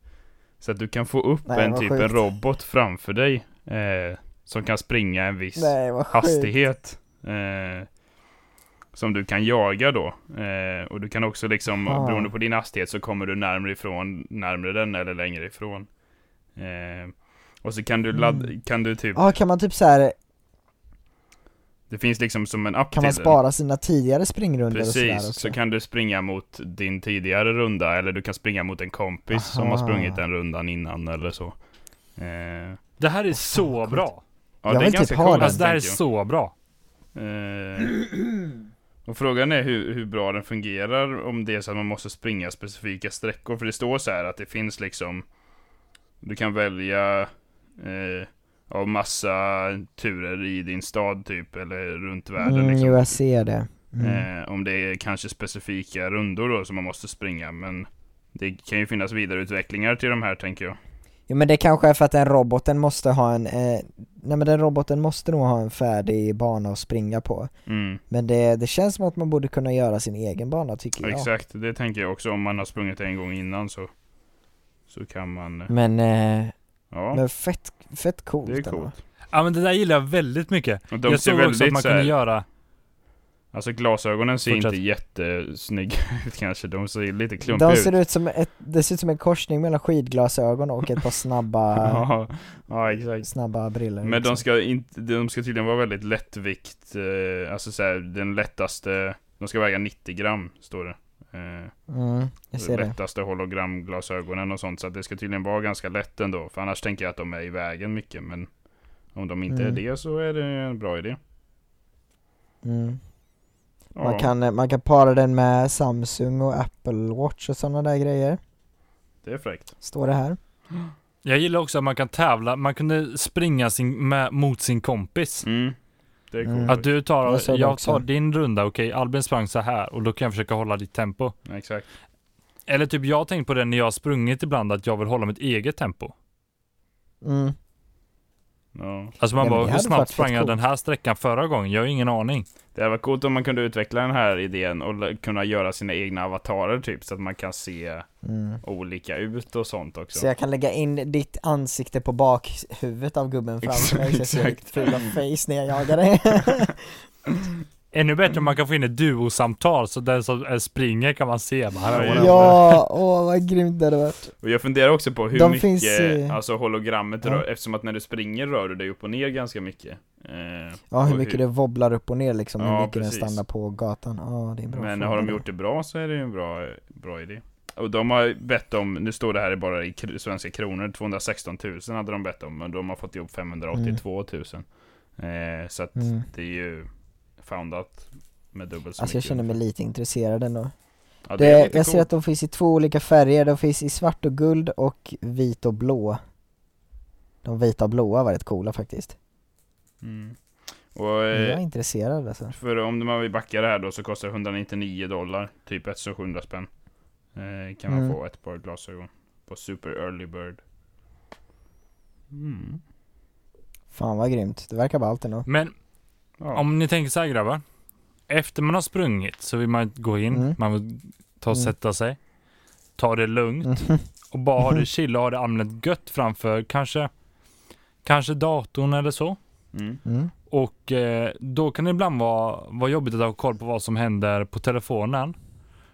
Så att du kan få upp
Nej,
en
vad
typ en
sjukt.
robot framför dig eh, som kan springa en viss
Nej, vad sjukt.
hastighet. Eh, som du kan jaga då. Eh, och du kan också liksom,
Ah.
beroende på din hastighet så kommer du närmare ifrån, närmare den eller längre ifrån. Eh, och så kan du ladda,
Mm.
kan du typ
Ja, kan man typ så här
det finns liksom som en app
kan man
till
spara sina tidigare springrundor
den.
och sådär
Precis,
också?
så kan du springa mot din tidigare runda eller du kan springa mot en kompis som har
Aha.
sprungit den rundan innan eller så. Eh, ja,
Det här är så bra.
Jag
det är
vill typ
ganska
ha
coolt,
den.
Alltså det här är
tänker jag.
så bra.
Eh, och frågan är hur, hur bra den fungerar om det är så att man måste springa specifika sträckor. För det står så här att det finns liksom Du kan välja eh, av massa turer i din stad typ eller runt världen
mm,
liksom.
Jo, jag ser det. Mm.
Eh, om det är kanske specifika rundor då som man måste springa. Men det kan ju finnas vidareutvecklingar till de här tänker jag.
Jo men det kanske är för att den roboten måste ha en, eh, nej men den roboten måste nog ha en färdig bana att springa på.
Mm.
Men det, det känns som att man borde kunna göra sin egen bana tycker jag.
Exakt, det tänker jag också. Om man har sprungit en gång innan så, så kan man... eh,
Men, eh,
Ja,
men fett, fett coolt.
det är
ändå.
coolt.
Ja men det där gillar jag väldigt mycket.
Och de
jag
ser
såg också att
väldigt
man
så här,
kunde göra,
Alltså glasögonen ser
Fortsätt.
inte jättesnygga ut kanske. De ser lite klumpiga
De
ut.
ser ut som ett, det ser ut som en korsning mellan skidglasögon och ett par snabba,
ja, ja, exakt.
snabba briller.
Men de
liksom.
ska, inte, de ska tydligen vara väldigt lättvikt, eh, alltså så här, den lättaste, de ska väga 90 gram, står det. Eh,
Mm, jag ser det.
lättaste hologramglasögonen och sånt. Så att det ska tydligen vara ganska lätt ändå. För annars tänker jag att de är i vägen mycket. Men om de inte
Mm.
är det så är det en bra idé.
Mm.
Ja.
Man, kan, eh, man kan para den med Samsung och Apple Watch och sådana där grejer.
Det är fräckt.
Står det här.
jag gillar också att man kan tävla, man kunde springa sin, med, mot sin kompis.
Mm. Det är
Mm.
coolt.
Att du
Jag
tar,
såg det
jag
också.
tar din runda, okej Albin sprang så här och då kan jag försöka hålla ditt tempo.
Exakt.
Eller typ jag har tänkt på det när jag har sprungit ibland att jag vill hålla mitt eget tempo.
Mm.
Ja.
Ja,
Alltså man
men det
bara, hur
hade
snabbt
varit
sprang
fett
jag
coolt.
den här sträckan förra gången? Jag har ingen aning.
Det hade varit coolt om man kunde utveckla den här idén och lä- kunna göra sina egna avatarer typ. Så att man kan se
Mm.
olika ut och sånt också.
Så jag kan lägga in ditt ansikte på bakhuvudet av gubben framför mig så jag ser ditt
Exakt.
fula face när jag jagar dig.
Ännu
Mm.
bättre om man kan få in ett duosamtal så den som eh, springer kan man se. Bara, här,
Ja,
ja, åh vad grymt det hade varit.
Och jag funderar också på hur
De
mycket,
finns i-
alltså hologrammet
Ja.
rör, eftersom att när du springer rör du dig upp och ner ganska mycket. Eh,
Ja, hur
och
mycket det wobblar upp och ner liksom, hur
Ja,
mycket
precis.
den stannar på gatan. Ja, det är en bra
Men
fråga
har de
det.
gjort det bra så är det ju en bra, bra idé. Och de har bett om, nu står det här bara i kr- svenska kronor, 216 000 hade de bett om, men de har fått ihop 582 000. Eh, så att
Mm.
det är ju foundat med dubbelt så
Alltså jag
mycket.
känner mig lite intresserad ändå.
ja,
det, jag
lite
ser
coolt.
att de finns i två olika färger, de finns i svart och guld och vit och blå. De vita och blåa var rätt coola faktiskt.
Mm. Och
Men Jag är
eh,
intresserad alltså.
för om man vill backa det här då så kostar det 199 dollar, typ 1700 spänn. Eh, kan man
Mm.
få ett par glasögon på Super Early Bird. Mm.
Fan vad grymt, det verkar vara allt ändå.
Men
Ja.
Om ni tänker så här grabbar. Efter man har sprungit så vill man gå in,
Mm.
man vill ta och
Mm.
sätta sig. Ta det lugnt
Mhm.
och bara ha det chill och ha det allmänt gött framför kanske, kanske datorn eller så.
Mm.
Mm.
Och eh, då kan det ibland vara, vara jobbigt att ha koll på vad som händer på telefonen.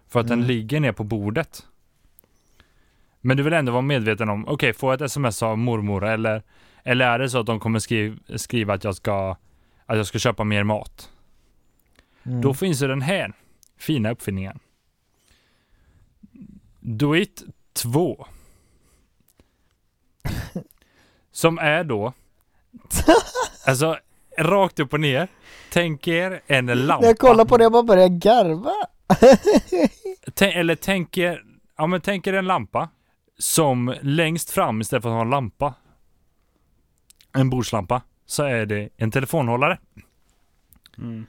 För att den
Mm.
ligger ner på bordet. Men du vill ändå vara medveten om, okej får jag ett sms av mormor eller, eller är det så att de kommer skriva, skriva att jag ska, att jag ska köpa mer mat?
Mm.
Då finns ju den här fina uppfinningen. Do it 2. Som är då, alltså rakt upp och ner. Tänk er en lampa.
När jag kollar på det jag bara börjar garva.
Tän- eller tänk er, ja men tänk er en lampa. Som längst fram istället för att ha en lampa. En bordslampa. Så är det en telefonhållare.
Mm.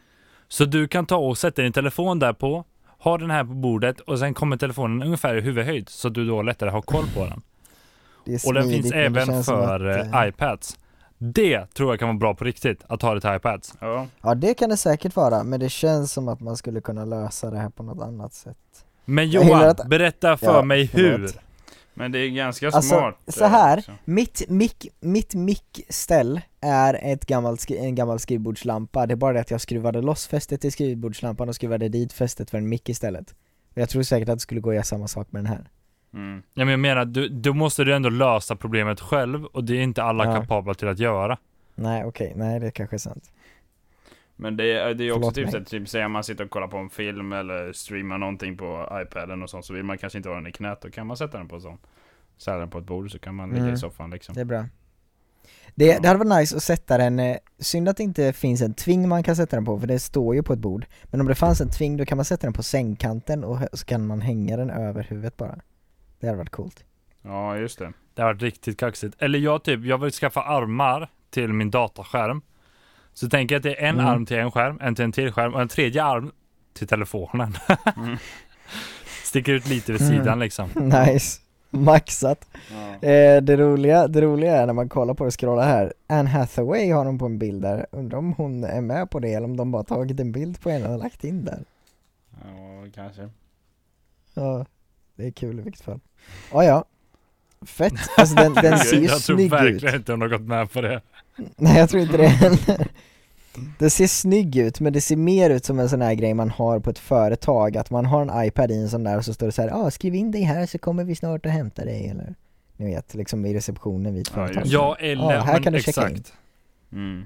Så du kan ta och sätta din telefon där på. Ha den här på bordet och sen kommer telefonen ungefär i huvudhöjd. Så att du då lättare har koll på den.
Det är
Och den
smidigt,
finns
men det
även
känns som
för
att,
eh,
eh,
iPads. Det tror jag kan vara bra på riktigt, att ha det till iPads.
Ja.
Ja det kan det säkert vara, men det känns som att man skulle kunna lösa det här på något annat sätt.
Men
Jag gillar
Johan,
att-
berätta för
Ja,
mig
förlåt.
hur.
Men det är ganska
Alltså,
smart.
så
eh,
här.
också.
Mitt mick, mitt mickställ är ett gammalt, skri- en gammal skrivbordslampa, det är bara det att jag skruvade loss fästet till skrivbordslampan och skruvade dit fästet för en mick istället. Och jag tror säkert att det skulle gå att göra samma sak med den här.
Mm.
Ja, men jag menar, du, då måste du ändå lösa problemet själv och det är inte alla
Ja.
kapabla till att göra.
Nej okej, nej det kanske är sant.
Men det är, det är ju också
Förlåt
typ
mig.
så att typ, säg om man sitter och kollar på en film eller streamar någonting på iPaden och sånt så vill man kanske inte ha den i knät. Då kan man sätta den på en sån. Sätta den på ett bord så kan man ligga
Mm.
i soffan liksom.
Det är bra. Det,
Ja.
det hade varit nice att sätta den, eh, synd att det inte finns en tving man kan sätta den på för det står ju på ett bord. Men om det fanns en tving då kan man sätta den på sängkanten och hö- så kan man hänga den över huvudet bara. Det hade varit coolt.
Ja, just det.
Det har varit riktigt kaxigt. Eller jag typ, jag vill skaffa armar till min dataskärm. Så tänker jag att det är en
Mm.
arm till en skärm, en till en till skärm och en tredje arm till telefonen.
Mm.
Sticker ut lite vid
Mm.
sidan liksom.
nice. Maxat.
Ja.
Eh, det, roliga, det roliga är när man kollar på det och scrollar här, Anne Hathaway har hon på en bild där, undrar om hon är med på det eller om de bara tagit en bild på henne och lagt in där.
ja, kanske.
Ja, det är kul i vilket fall. Ja, ja. Fett, alltså den, den ser ju
jag tror
snygg ut.
verkligen inte hon har gått med på det.
Nej jag tror inte det heller. Det ser snygg ut men det ser mer ut som en sån här grej man har på ett företag, att man har en iPad i en sån där och så står det så här, ah, skriv in dig här så kommer vi snart och hämtar dig eller ni vet, liksom i receptionen vid ett
Ja, just
företag.
det.
Ja, eller,
Ja, här
men
kan du checka in.
exakt.
Mm.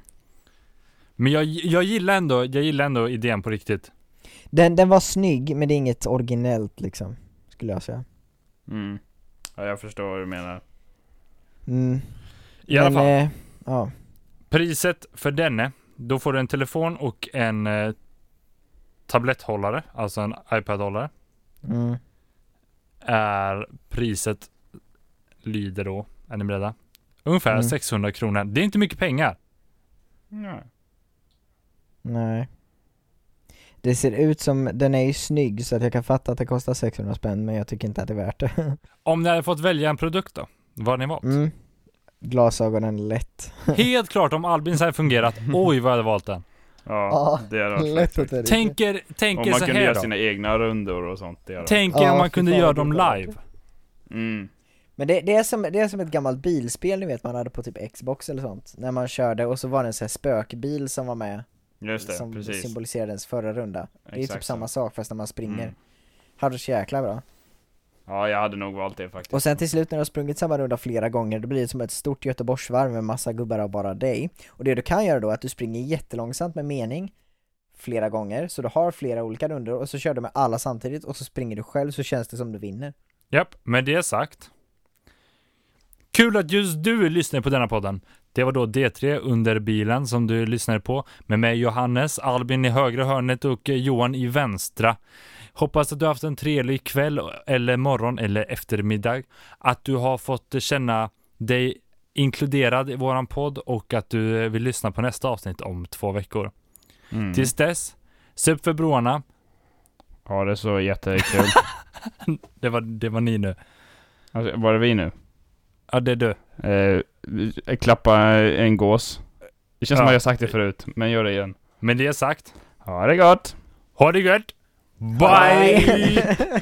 Men jag, jag gillar ändå, jag gillar ändå idén på riktigt.
Den, den var snygg men det är inget originellt liksom, skulle jag säga.
Mm. Ja, jag förstår vad du menar.
Mm.
I alla
men,
fall.
eh, ja.
Priset för denne, då får du en telefon och en eh, tabletthållare, alltså en iPad-hållare,
Mm.
är priset lyder då, är ni beredda? Ungefär
Mm.
600 kronor. Det är inte mycket pengar.
Nej.
Nej. Det ser ut som, den är ju snygg så att jag kan fatta att det kostar 600 spänn men jag tycker inte att det är värt det.
Om ni hade fått välja en produkt då, vad hade ni valt?
Mm. Glasögonen lätt.
Helt klart om Albins hade fungerat, oj vad jag hade valt den.
Ja,
Ja,
det hade varit fett.
att det är
Tänker,
Om
tänker
man
så
kunde
här
göra
då.
sina egna rundor och sånt. Det hade varit-
Tänker
Ja,
om man
fy
kunde
fan,
göra
vad
dem
det hade
live.
mm.
Men det, det, är som, det är som ett gammalt bilspel ni vet man hade på typ Xbox eller sånt. När man körde och så var det en sån här spökbil som var med.
Just det,
som
precis.
symboliserade ens förra runda. det är ju
Exakt
typ
så.
samma sak fast när man springer.
Mm.
Hade det så jäkla bra.
Ja, jag hade nog valt det faktiskt.
Och sen till slut när du har sprungit samma runda flera gånger, då blir det som ett stort Göteborgsvarv med massa gubbar av bara dig. Och det du kan göra då är att du springer jättelångsamt med mening flera gånger, så du har flera olika rundor och så kör du med alla samtidigt och så springer du själv så känns det som du vinner.
Japp, med det sagt. Kul att just du lyssnar på denna podden. Det var då D3 under bilen som du lyssnade på med mig Johannes, Albin i högra hörnet och eh, Johan i vänstra. Hoppas att du har haft en trevlig kväll eller morgon eller eftermiddag. Att du har fått känna dig inkluderad i våran podd och att du eh, vill lyssna på nästa avsnitt om två veckor.
Mm.
Tills dess, sup för broarna.
Ja, det är så jättekul.
Det var, det var ni nu.
alltså, var är vi nu?
Ja, det är du.
Eh, klappa en gås. Det känns
Ja.
som att jag sagt det förut, men gör det igen.
Med det sagt,
Ha det gott!
Ha det gött! Bye!